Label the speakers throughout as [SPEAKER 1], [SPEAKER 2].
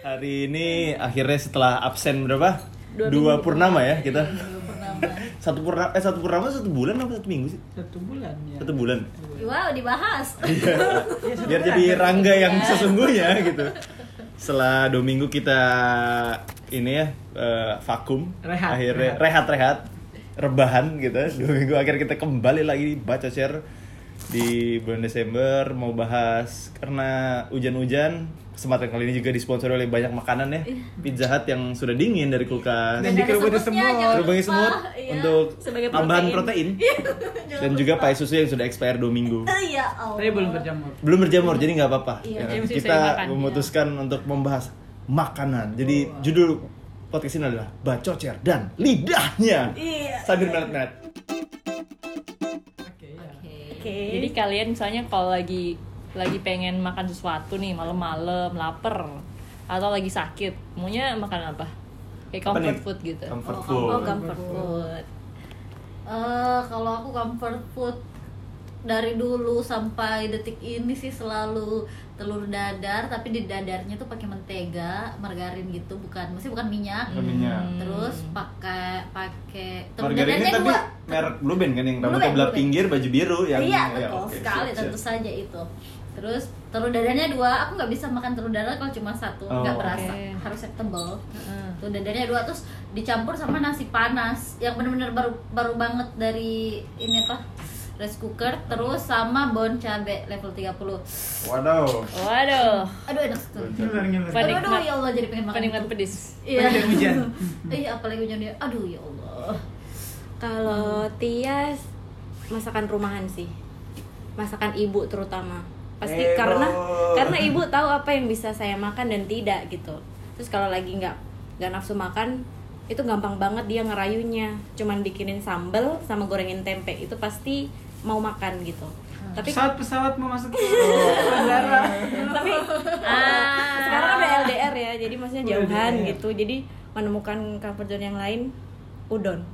[SPEAKER 1] Hari ini akhirnya setelah absen berapa? Dua,
[SPEAKER 2] Dua minggu.
[SPEAKER 1] purnama ya kita.
[SPEAKER 3] Dua purnama.
[SPEAKER 1] Satu purnama eh satu purnama satu bulan apa satu minggu sih?
[SPEAKER 3] Satu bulan ya.
[SPEAKER 1] Satu bulan.
[SPEAKER 2] Wow, dibahas.
[SPEAKER 1] Iya.
[SPEAKER 3] Iya, satu
[SPEAKER 1] Biar
[SPEAKER 3] bulan.
[SPEAKER 1] jadi rangga yang sesungguhnya gitu. Setelah dua minggu kita ini ya eh, vakum,
[SPEAKER 3] Rehat,
[SPEAKER 1] akhirnya rehat-rehat, rebahan gitu. Dua minggu akhir kita kembali lagi baca share di bulan Desember mau bahas karena hujan-hujan kesempatan kali ini juga disponsori oleh banyak makanan ya pizza hut yang sudah dingin dari kulkas
[SPEAKER 3] Dan dikerubungin
[SPEAKER 2] semutnya,
[SPEAKER 3] semut.
[SPEAKER 2] jangan
[SPEAKER 1] Kerubungin
[SPEAKER 2] lupa.
[SPEAKER 1] semut
[SPEAKER 2] Iya,
[SPEAKER 1] untuk
[SPEAKER 2] sebagai
[SPEAKER 1] tambahan protein,
[SPEAKER 2] Jangan
[SPEAKER 1] dan juga pai susu yang sudah expire dua minggu
[SPEAKER 2] Eh, Ya Allah.
[SPEAKER 3] Tapi belum berjamur.
[SPEAKER 1] belum berjamur jadi nggak apa-apa
[SPEAKER 2] Iya.
[SPEAKER 1] Ya,
[SPEAKER 3] Jadi mesti
[SPEAKER 1] kita
[SPEAKER 3] saya makan,
[SPEAKER 1] memutuskan untuk membahas makanan jadi judul podcast ini adalah bacocer dan lidahnya
[SPEAKER 2] Iya.
[SPEAKER 1] sambil menet-menet
[SPEAKER 3] Oke, ya.
[SPEAKER 2] Oke.
[SPEAKER 4] Jadi kalian misalnya kalau lagi lagi pengen makan sesuatu nih malam-malam lapar atau lagi sakit, maunya makan apa?
[SPEAKER 1] Apa
[SPEAKER 4] Kayak comfort
[SPEAKER 1] nih?
[SPEAKER 4] food gitu.
[SPEAKER 1] comfort
[SPEAKER 2] Oh,
[SPEAKER 1] food
[SPEAKER 2] Oh, comfort food. Eh, kalau aku comfort food dari dulu sampai detik ini sih selalu telur dadar, tapi di dadarnya tuh pakai mentega, margarin gitu, bukan, mesti bukan minyak.
[SPEAKER 1] Bukan minyak.
[SPEAKER 2] Terus pakai pakai telur
[SPEAKER 1] margarin
[SPEAKER 2] dadarnya
[SPEAKER 1] tapi
[SPEAKER 2] dua.
[SPEAKER 1] merek Blue Band kan yang
[SPEAKER 2] Blue
[SPEAKER 1] rambutnya
[SPEAKER 2] Band,
[SPEAKER 1] belah
[SPEAKER 2] Blue Band.
[SPEAKER 1] pinggir baju biru yang
[SPEAKER 2] iya
[SPEAKER 1] ya,
[SPEAKER 2] betul
[SPEAKER 1] oke,
[SPEAKER 2] sekali
[SPEAKER 1] siap,
[SPEAKER 2] tentu
[SPEAKER 1] siap.
[SPEAKER 2] saja itu terus telur dadarnya dua aku nggak bisa makan telur dadar kalau cuma satu
[SPEAKER 1] Oh,
[SPEAKER 2] nggak
[SPEAKER 1] oke.
[SPEAKER 2] berasa harus yang tebel
[SPEAKER 4] Heeh.
[SPEAKER 2] telur dadarnya dua terus dicampur sama nasi panas yang benar-benar baru baru banget dari ini apa rice cooker terus sama bon cabe level 30
[SPEAKER 1] waduh
[SPEAKER 4] Waduh,
[SPEAKER 2] aduh enak sekali
[SPEAKER 3] Ngiler, ngiler.
[SPEAKER 4] Pan-
[SPEAKER 2] aduh, aduh
[SPEAKER 4] Penikmat-
[SPEAKER 2] ya Allah jadi pengen makan
[SPEAKER 4] penikmat
[SPEAKER 2] itu.
[SPEAKER 4] pedis.
[SPEAKER 2] iya
[SPEAKER 3] Apalagi hujan.
[SPEAKER 2] iya apalagi hujan dia aduh ya Allah
[SPEAKER 5] Kalau Tias masakan rumahan sih. Masakan ibu terutama. Pasti
[SPEAKER 1] Heboh.
[SPEAKER 5] karena karena ibu tahu apa yang bisa saya makan dan tidak gitu. Terus kalau lagi nggak nggak nafsu makan itu gampang banget dia ngerayunya. Cuman bikinin sambel sama gorengin tempe itu pasti mau makan gitu. Tapi
[SPEAKER 3] pesawat pesawat mau masuk ke bandara.
[SPEAKER 5] tapi
[SPEAKER 2] Ah.
[SPEAKER 5] sekarang kan udah LDR ya jadi maksudnya
[SPEAKER 3] Udah
[SPEAKER 5] jauhan
[SPEAKER 3] LDR.
[SPEAKER 5] gitu jadi menemukan comfort zone yang lain udon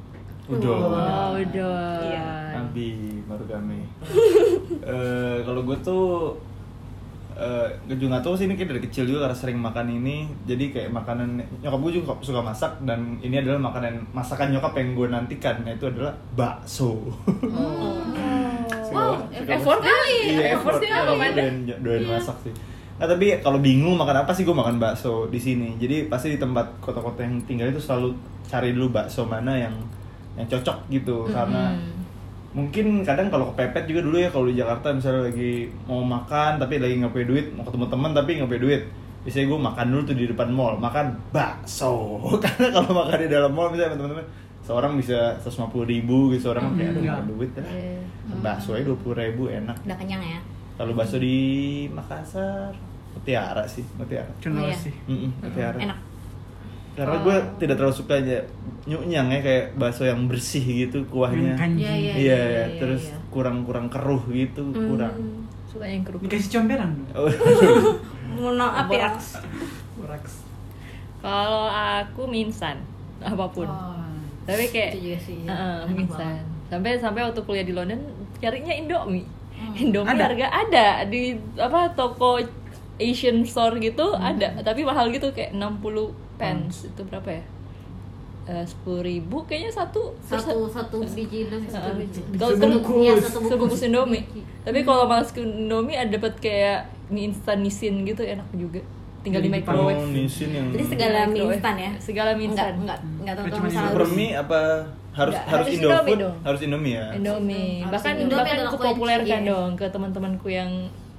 [SPEAKER 1] udah
[SPEAKER 4] Wow, udah.
[SPEAKER 5] Iya.
[SPEAKER 1] Abi baru kami. Eh, kalau gue tuh eh gue juga gak tau sih ini kayak dari kecil juga karena sering makan ini jadi kayak makanan nyokap gue juga suka masak dan ini adalah makanan masakan nyokap yang gue nantikan yaitu adalah bakso
[SPEAKER 3] Oh.
[SPEAKER 2] wow
[SPEAKER 1] Suka
[SPEAKER 4] Oh, Effort kali. ya,
[SPEAKER 1] iya
[SPEAKER 4] Effort
[SPEAKER 1] effort
[SPEAKER 4] sih
[SPEAKER 1] kalau
[SPEAKER 4] makan.
[SPEAKER 1] doain, doain masak sih nah tapi kalau bingung makan apa sih gue makan bakso di sini jadi pasti di tempat kota-kota yang tinggal itu selalu cari dulu bakso mana yang yang cocok gitu karena mungkin kadang kalau kepepet juga dulu ya kalau di Jakarta misalnya lagi mau makan tapi lagi nggak punya duit mau ketemu teman tapi nggak punya duit biasanya gue makan dulu tuh di depan mall makan bakso karena kalau makan di dalam mall misalnya sama teman-teman seorang bisa 150 ribu gitu seorang kayak "Aduh, nggak ada duit dah." bakso aja 20 ribu enak
[SPEAKER 5] udah kenyang ya
[SPEAKER 1] kalau bakso di Makassar mutiara sih mutiara
[SPEAKER 3] Cendol
[SPEAKER 5] Oh, iya.
[SPEAKER 3] sih.
[SPEAKER 1] Mm-mm, mutiara
[SPEAKER 5] enak
[SPEAKER 1] karena gue tidak terlalu suka aja nyunyang ya kayak bakso yang bersih gitu kuahnya
[SPEAKER 3] Kanji.
[SPEAKER 2] Iya, iya.
[SPEAKER 1] iya iya, terus
[SPEAKER 2] iya.
[SPEAKER 1] kurang-kurang keruh gitu kurang
[SPEAKER 4] Suka yang kerupuk.
[SPEAKER 3] Dikasih comberan dong.
[SPEAKER 1] Oh,
[SPEAKER 5] mau no up ya
[SPEAKER 3] Boraks.
[SPEAKER 4] Kalau aku minsan apapun.
[SPEAKER 3] Oh,
[SPEAKER 4] Tapi kayak
[SPEAKER 2] Oh. Itu juga sih, iya.
[SPEAKER 4] Heeh,
[SPEAKER 2] Enak
[SPEAKER 4] minsan. Sampai sampai waktu kuliah di London carinya Indomie.
[SPEAKER 5] Hmm.
[SPEAKER 4] Indomie
[SPEAKER 3] Ada?
[SPEAKER 4] harga ada di apa toko Asian store gitu
[SPEAKER 5] Hmm.
[SPEAKER 4] ada, tapi mahal gitu kayak 60 pence itu berapa ya? Eh, sepuluh ribu kayaknya satu terus
[SPEAKER 2] satu satu biji dong satu
[SPEAKER 4] Heeh.
[SPEAKER 2] biji
[SPEAKER 4] Kalau
[SPEAKER 3] Sebungkus.
[SPEAKER 2] Iya,
[SPEAKER 4] sebungkus Indomie. Tapi kalau malas ke Indomie ada dapat kayak mie instan nisin gitu enak juga. Tinggal di
[SPEAKER 3] Jadi
[SPEAKER 1] oh,
[SPEAKER 4] microwave.
[SPEAKER 1] nisin yang
[SPEAKER 5] jadi segala mie instan ya
[SPEAKER 4] Segala mie
[SPEAKER 5] nggak
[SPEAKER 4] instan.
[SPEAKER 5] nggak nggak tahu
[SPEAKER 3] Cuma
[SPEAKER 5] masalah
[SPEAKER 1] super mie apa harus
[SPEAKER 4] Nggak,
[SPEAKER 1] harus
[SPEAKER 4] harus
[SPEAKER 1] Indofood
[SPEAKER 4] Indomie dong.
[SPEAKER 1] harus Indomie ya
[SPEAKER 4] Indomie.
[SPEAKER 2] Harus
[SPEAKER 4] Bahkan
[SPEAKER 2] Indomie
[SPEAKER 4] bahkan
[SPEAKER 2] adalah
[SPEAKER 4] aku
[SPEAKER 2] kunci,
[SPEAKER 4] populerkan
[SPEAKER 2] iya.
[SPEAKER 4] dong ke teman-temanku yang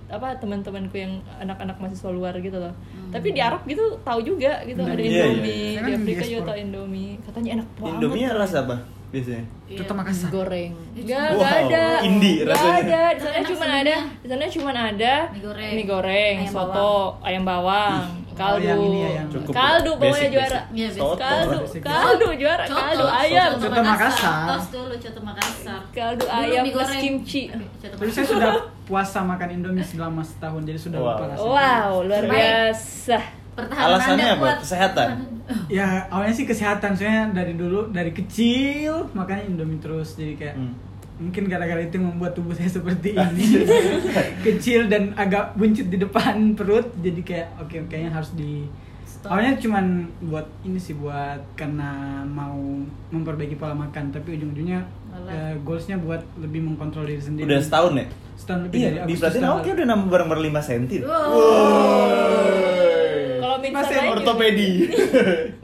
[SPEAKER 4] apa teman-temanku yang anak-anak mahasiswa luar gitu loh. Tapi di Arab gitu tahu juga gitu ada
[SPEAKER 1] Iya, iya,
[SPEAKER 4] Indomie,
[SPEAKER 3] iya.
[SPEAKER 4] di
[SPEAKER 3] Kan
[SPEAKER 4] Afrika
[SPEAKER 3] diekspor.
[SPEAKER 4] juga tahu Indomie. Katanya enak banget.
[SPEAKER 1] Indomie rasa apa biasanya
[SPEAKER 2] Iya.
[SPEAKER 3] Tutup Makassar.
[SPEAKER 4] goreng. Enggak,
[SPEAKER 1] Wow,
[SPEAKER 4] enggak ada.
[SPEAKER 1] indie rasanya.
[SPEAKER 4] Enggak ada. Di sana
[SPEAKER 2] Enak
[SPEAKER 4] cuma
[SPEAKER 2] sebenarnya.
[SPEAKER 4] ada, di sana cuma ada
[SPEAKER 2] Mie goreng.
[SPEAKER 4] goreng,
[SPEAKER 5] Ayam
[SPEAKER 4] soto, ayam bawang, kaldu.
[SPEAKER 3] yang ini ya, yang-
[SPEAKER 1] Cukup
[SPEAKER 4] kaldu
[SPEAKER 1] basic,
[SPEAKER 4] pokoknya
[SPEAKER 1] basic.
[SPEAKER 4] juara.
[SPEAKER 2] Iya, basic.
[SPEAKER 1] Soto.
[SPEAKER 4] Kaldu,
[SPEAKER 3] Basic.
[SPEAKER 4] kaldu juara,
[SPEAKER 2] Coto,
[SPEAKER 4] kaldu ayam.
[SPEAKER 2] Coto
[SPEAKER 3] Coto Makassar.
[SPEAKER 2] Tos dulu coto Makassar.
[SPEAKER 4] Kaldu
[SPEAKER 2] Dulu
[SPEAKER 4] ayam
[SPEAKER 2] mie
[SPEAKER 4] plus
[SPEAKER 2] goreng.
[SPEAKER 4] kimchi.
[SPEAKER 2] Coto
[SPEAKER 3] Tapi saya
[SPEAKER 2] Makassar.
[SPEAKER 3] sudah puasa makan Indomie selama setahun jadi sudah
[SPEAKER 1] Wow.
[SPEAKER 3] lupa rasanya.
[SPEAKER 4] Wow, luar
[SPEAKER 2] Baik.
[SPEAKER 4] biasa.
[SPEAKER 2] Pertahanan
[SPEAKER 1] alasannya
[SPEAKER 2] Anda
[SPEAKER 1] apa
[SPEAKER 2] kuat.
[SPEAKER 1] kesehatan
[SPEAKER 3] Ya awalnya sih kesehatan soalnya dari dulu dari kecil makanya Indomie terus jadi kayak
[SPEAKER 1] Hmm.
[SPEAKER 3] mungkin gara-gara itu yang membuat tubuh saya seperti ini kecil dan agak buncit di depan perut jadi kayak oke kayaknya harus di
[SPEAKER 2] atau
[SPEAKER 3] Awalnya cuman buat ini sih buat karena mau memperbaiki pola makan tapi ujung-ujungnya
[SPEAKER 2] Malah.
[SPEAKER 3] eh, goalsnya buat lebih mengkontrol diri sendiri.
[SPEAKER 1] Udah setahun ya?
[SPEAKER 3] Setahun lebih dari
[SPEAKER 1] Iya, di
[SPEAKER 3] Agustus
[SPEAKER 1] Brazil
[SPEAKER 3] tanggal-
[SPEAKER 1] awal kayak udah nambah bareng berlima senti.
[SPEAKER 2] Wow.
[SPEAKER 4] Kalau Minsan
[SPEAKER 1] Masih
[SPEAKER 4] lain
[SPEAKER 1] ortopedi.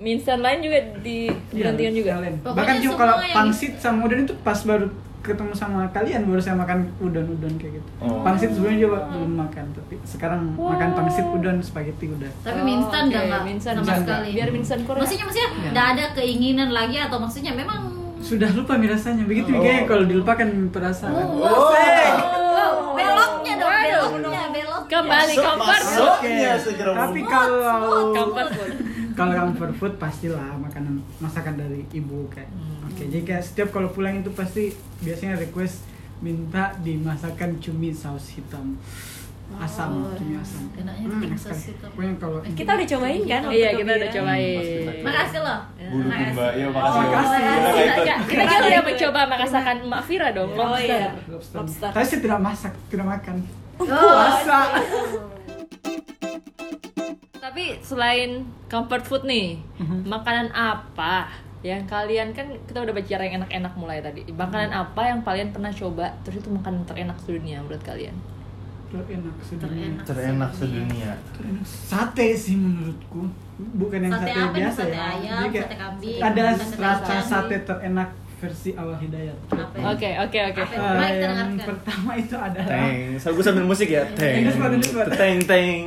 [SPEAKER 4] Minsan lain juga di
[SPEAKER 3] Iya,
[SPEAKER 4] berhentiin juga.
[SPEAKER 3] sekalian.
[SPEAKER 2] Pokoknya
[SPEAKER 3] Bahkan cuma
[SPEAKER 2] semua
[SPEAKER 3] kalau
[SPEAKER 2] yang-
[SPEAKER 3] pangsit sama udon itu pas baru ketemu sama kalian baru saya makan udon-udon kayak gitu.
[SPEAKER 1] Oh.
[SPEAKER 3] Pangsit sebelumnya juga belum makan tapi sekarang makan pangsit udon spaghetti udah.
[SPEAKER 2] tapi
[SPEAKER 4] Oh,
[SPEAKER 2] Minsan
[SPEAKER 4] oke,
[SPEAKER 2] nggak nggak
[SPEAKER 4] Minsan
[SPEAKER 2] sama
[SPEAKER 3] nggak.
[SPEAKER 2] sekali
[SPEAKER 4] Biar Minsan Korea.
[SPEAKER 2] maksudnya maksudnya
[SPEAKER 3] Iya.
[SPEAKER 2] nggak ada keinginan lagi atau maksudnya memang
[SPEAKER 3] Sudah lupa mie rasanya. Begitu
[SPEAKER 1] Oh.
[SPEAKER 3] kayak kalau dilupakan perasaan.
[SPEAKER 1] Oh.
[SPEAKER 2] Wow, beloknya dong
[SPEAKER 4] Waduh.
[SPEAKER 2] beloknya beloknya
[SPEAKER 4] Kembali
[SPEAKER 1] Masuk,
[SPEAKER 4] kamper.
[SPEAKER 1] masuk. Masuknya
[SPEAKER 3] Oke.
[SPEAKER 1] segera
[SPEAKER 3] Tapi
[SPEAKER 1] membuat.
[SPEAKER 3] kalau
[SPEAKER 4] Kamper pun.
[SPEAKER 3] kalau comfort food pastilah makanan masakan dari ibu kayak. Oke, jadi kayak setiap kalau pulang itu pasti biasanya request minta dimasakan cumi saus hitam. Asam, cumi asam.
[SPEAKER 2] enaknya
[SPEAKER 3] Hmm,
[SPEAKER 2] cumi
[SPEAKER 3] enak
[SPEAKER 2] saus
[SPEAKER 3] sekali.
[SPEAKER 2] hitam.
[SPEAKER 3] Pokoknya kalau
[SPEAKER 5] Kita udah cobain kan? waktu
[SPEAKER 4] Iya
[SPEAKER 5] ke
[SPEAKER 4] kita udah
[SPEAKER 5] Bira?
[SPEAKER 1] Hmm, pasti.
[SPEAKER 4] cobain.
[SPEAKER 2] makasih loh
[SPEAKER 1] Bulu domba, ya
[SPEAKER 3] Oh,
[SPEAKER 1] makasih.
[SPEAKER 3] makasih.
[SPEAKER 1] Kita nggak ikut.
[SPEAKER 4] Kita kita udah mencoba merasakan Mak Fira dong.
[SPEAKER 5] Oh iya.
[SPEAKER 3] Lobster.
[SPEAKER 5] Lobster.
[SPEAKER 3] Tapi saya tidak masak, tidak makan.
[SPEAKER 2] Oh, puasa
[SPEAKER 4] Tapi selain comfort food nih, makanan apa yang kalian kan kita udah bicara yang enak-enak mulai tadi. Makanan apa yang kalian pernah coba terus itu makanan terenak sedunia menurut kalian?
[SPEAKER 3] Terenak sedunia.
[SPEAKER 2] Terenak.
[SPEAKER 1] Terenak sedunia.
[SPEAKER 3] Terenak. Sate sih menurutku. Bukan yang
[SPEAKER 2] Sate
[SPEAKER 3] sate,
[SPEAKER 2] apa nih?
[SPEAKER 3] biasa
[SPEAKER 2] Sate
[SPEAKER 3] ya.
[SPEAKER 2] ayam,
[SPEAKER 3] Jadi kayak
[SPEAKER 2] sate kambing,
[SPEAKER 3] Ada
[SPEAKER 2] sate
[SPEAKER 3] rasa
[SPEAKER 2] kambing.
[SPEAKER 3] sate terenak versi awal hidayat.
[SPEAKER 2] Apa ya?
[SPEAKER 4] Oke, oke, oke.
[SPEAKER 2] Apa?
[SPEAKER 3] Eh,
[SPEAKER 2] Mari kita
[SPEAKER 3] yang
[SPEAKER 2] dengarkan.
[SPEAKER 3] pertama itu adalah
[SPEAKER 1] Teng. Saya gue sambil musik ya. Teng.
[SPEAKER 3] Ini suara, ini suara.
[SPEAKER 1] Teng teng.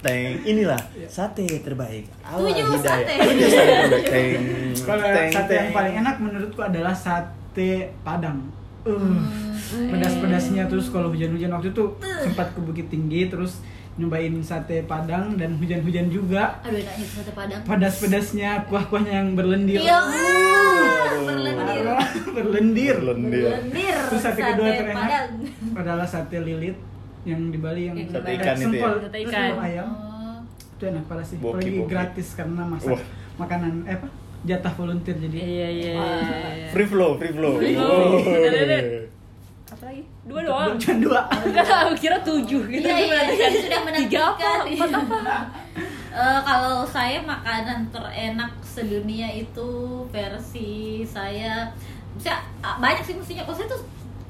[SPEAKER 1] Teng. Inilah
[SPEAKER 3] Iya.
[SPEAKER 1] sate terbaik. Awal
[SPEAKER 2] Tujuh
[SPEAKER 1] hidayah.
[SPEAKER 2] sate.
[SPEAKER 1] Tujuh sate terbaik. Teng.
[SPEAKER 3] kalau
[SPEAKER 1] Teng,
[SPEAKER 3] sate yang
[SPEAKER 1] teng.
[SPEAKER 3] paling enak menurutku adalah sate padang. Uh,
[SPEAKER 2] Hmm, eh.
[SPEAKER 3] pedas-pedasnya terus kalau hujan-hujan waktu itu sempat ke Bukit Tinggi terus nyobain sate padang dan hujan-hujan juga
[SPEAKER 2] aduh enaknya sate padang
[SPEAKER 3] pedas-pedasnya kuah-kuahnya yang berlendir
[SPEAKER 2] iya
[SPEAKER 1] Aduh.
[SPEAKER 2] berlendir
[SPEAKER 3] Parah, berlendir
[SPEAKER 1] Berlendir.
[SPEAKER 2] berlendir
[SPEAKER 3] terus sate kedua terenak
[SPEAKER 2] padang
[SPEAKER 3] adalah sate lilit yang di Bali yang
[SPEAKER 5] Sate
[SPEAKER 1] ikan itu ya?
[SPEAKER 3] sempol
[SPEAKER 4] Sate
[SPEAKER 3] terus
[SPEAKER 4] ikan.
[SPEAKER 3] sama ayam
[SPEAKER 2] Oh.
[SPEAKER 3] itu enak parah sih
[SPEAKER 1] Boki,
[SPEAKER 3] apalagi
[SPEAKER 1] boki.
[SPEAKER 3] gratis karena masak
[SPEAKER 1] Wah.
[SPEAKER 3] makanan eh apa jatah volunteer jadi
[SPEAKER 4] Iya, iya, iya.
[SPEAKER 1] Free flow, free flow.
[SPEAKER 4] Free flow.
[SPEAKER 1] Woy.
[SPEAKER 4] Terenak. Apa lagi? Dua doang.
[SPEAKER 3] cuma dua
[SPEAKER 4] Enggak, aku kira tujuh gitu.
[SPEAKER 2] Iya, iya,
[SPEAKER 4] Berarti
[SPEAKER 2] saya sudah menantikan.
[SPEAKER 4] Tiga apa? Empat apa?
[SPEAKER 2] Eh, kalau saya makanan terenak sedunia itu versi saya saya ah, banyak sih mestinya kalau saya tuh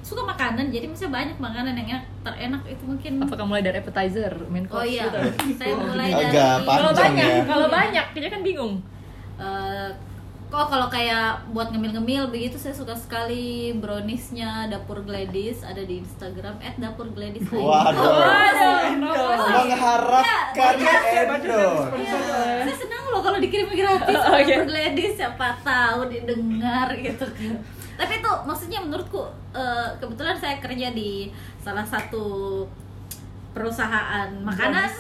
[SPEAKER 2] suka makanan jadi misalnya banyak makanan yang enak terenak itu mungkin
[SPEAKER 4] Apakah mulai dari appetizer, main
[SPEAKER 2] oh
[SPEAKER 4] course
[SPEAKER 2] iya
[SPEAKER 4] gitu?
[SPEAKER 2] saya mulai dari
[SPEAKER 1] Agak
[SPEAKER 4] Kalau
[SPEAKER 1] Panjang
[SPEAKER 4] banyak,
[SPEAKER 2] Iya.
[SPEAKER 1] ya.
[SPEAKER 4] kalau banyak, dia kan bingung.
[SPEAKER 2] Eh, kok kalau kayak buat ngemil-ngemil begitu saya suka sekali browniesnya dapur Gladys ada di Instagram @dapurgladys
[SPEAKER 1] Waduh.
[SPEAKER 4] promosi.
[SPEAKER 1] Mengharapkan endorse.
[SPEAKER 2] saya senang loh kalau dikirim gratis
[SPEAKER 4] Oh, oke.
[SPEAKER 2] Dapur Gladys siapa tahu didengar gitu kan tapi itu maksudnya menurutku eh, kebetulan saya kerja di salah satu perusahaan makanan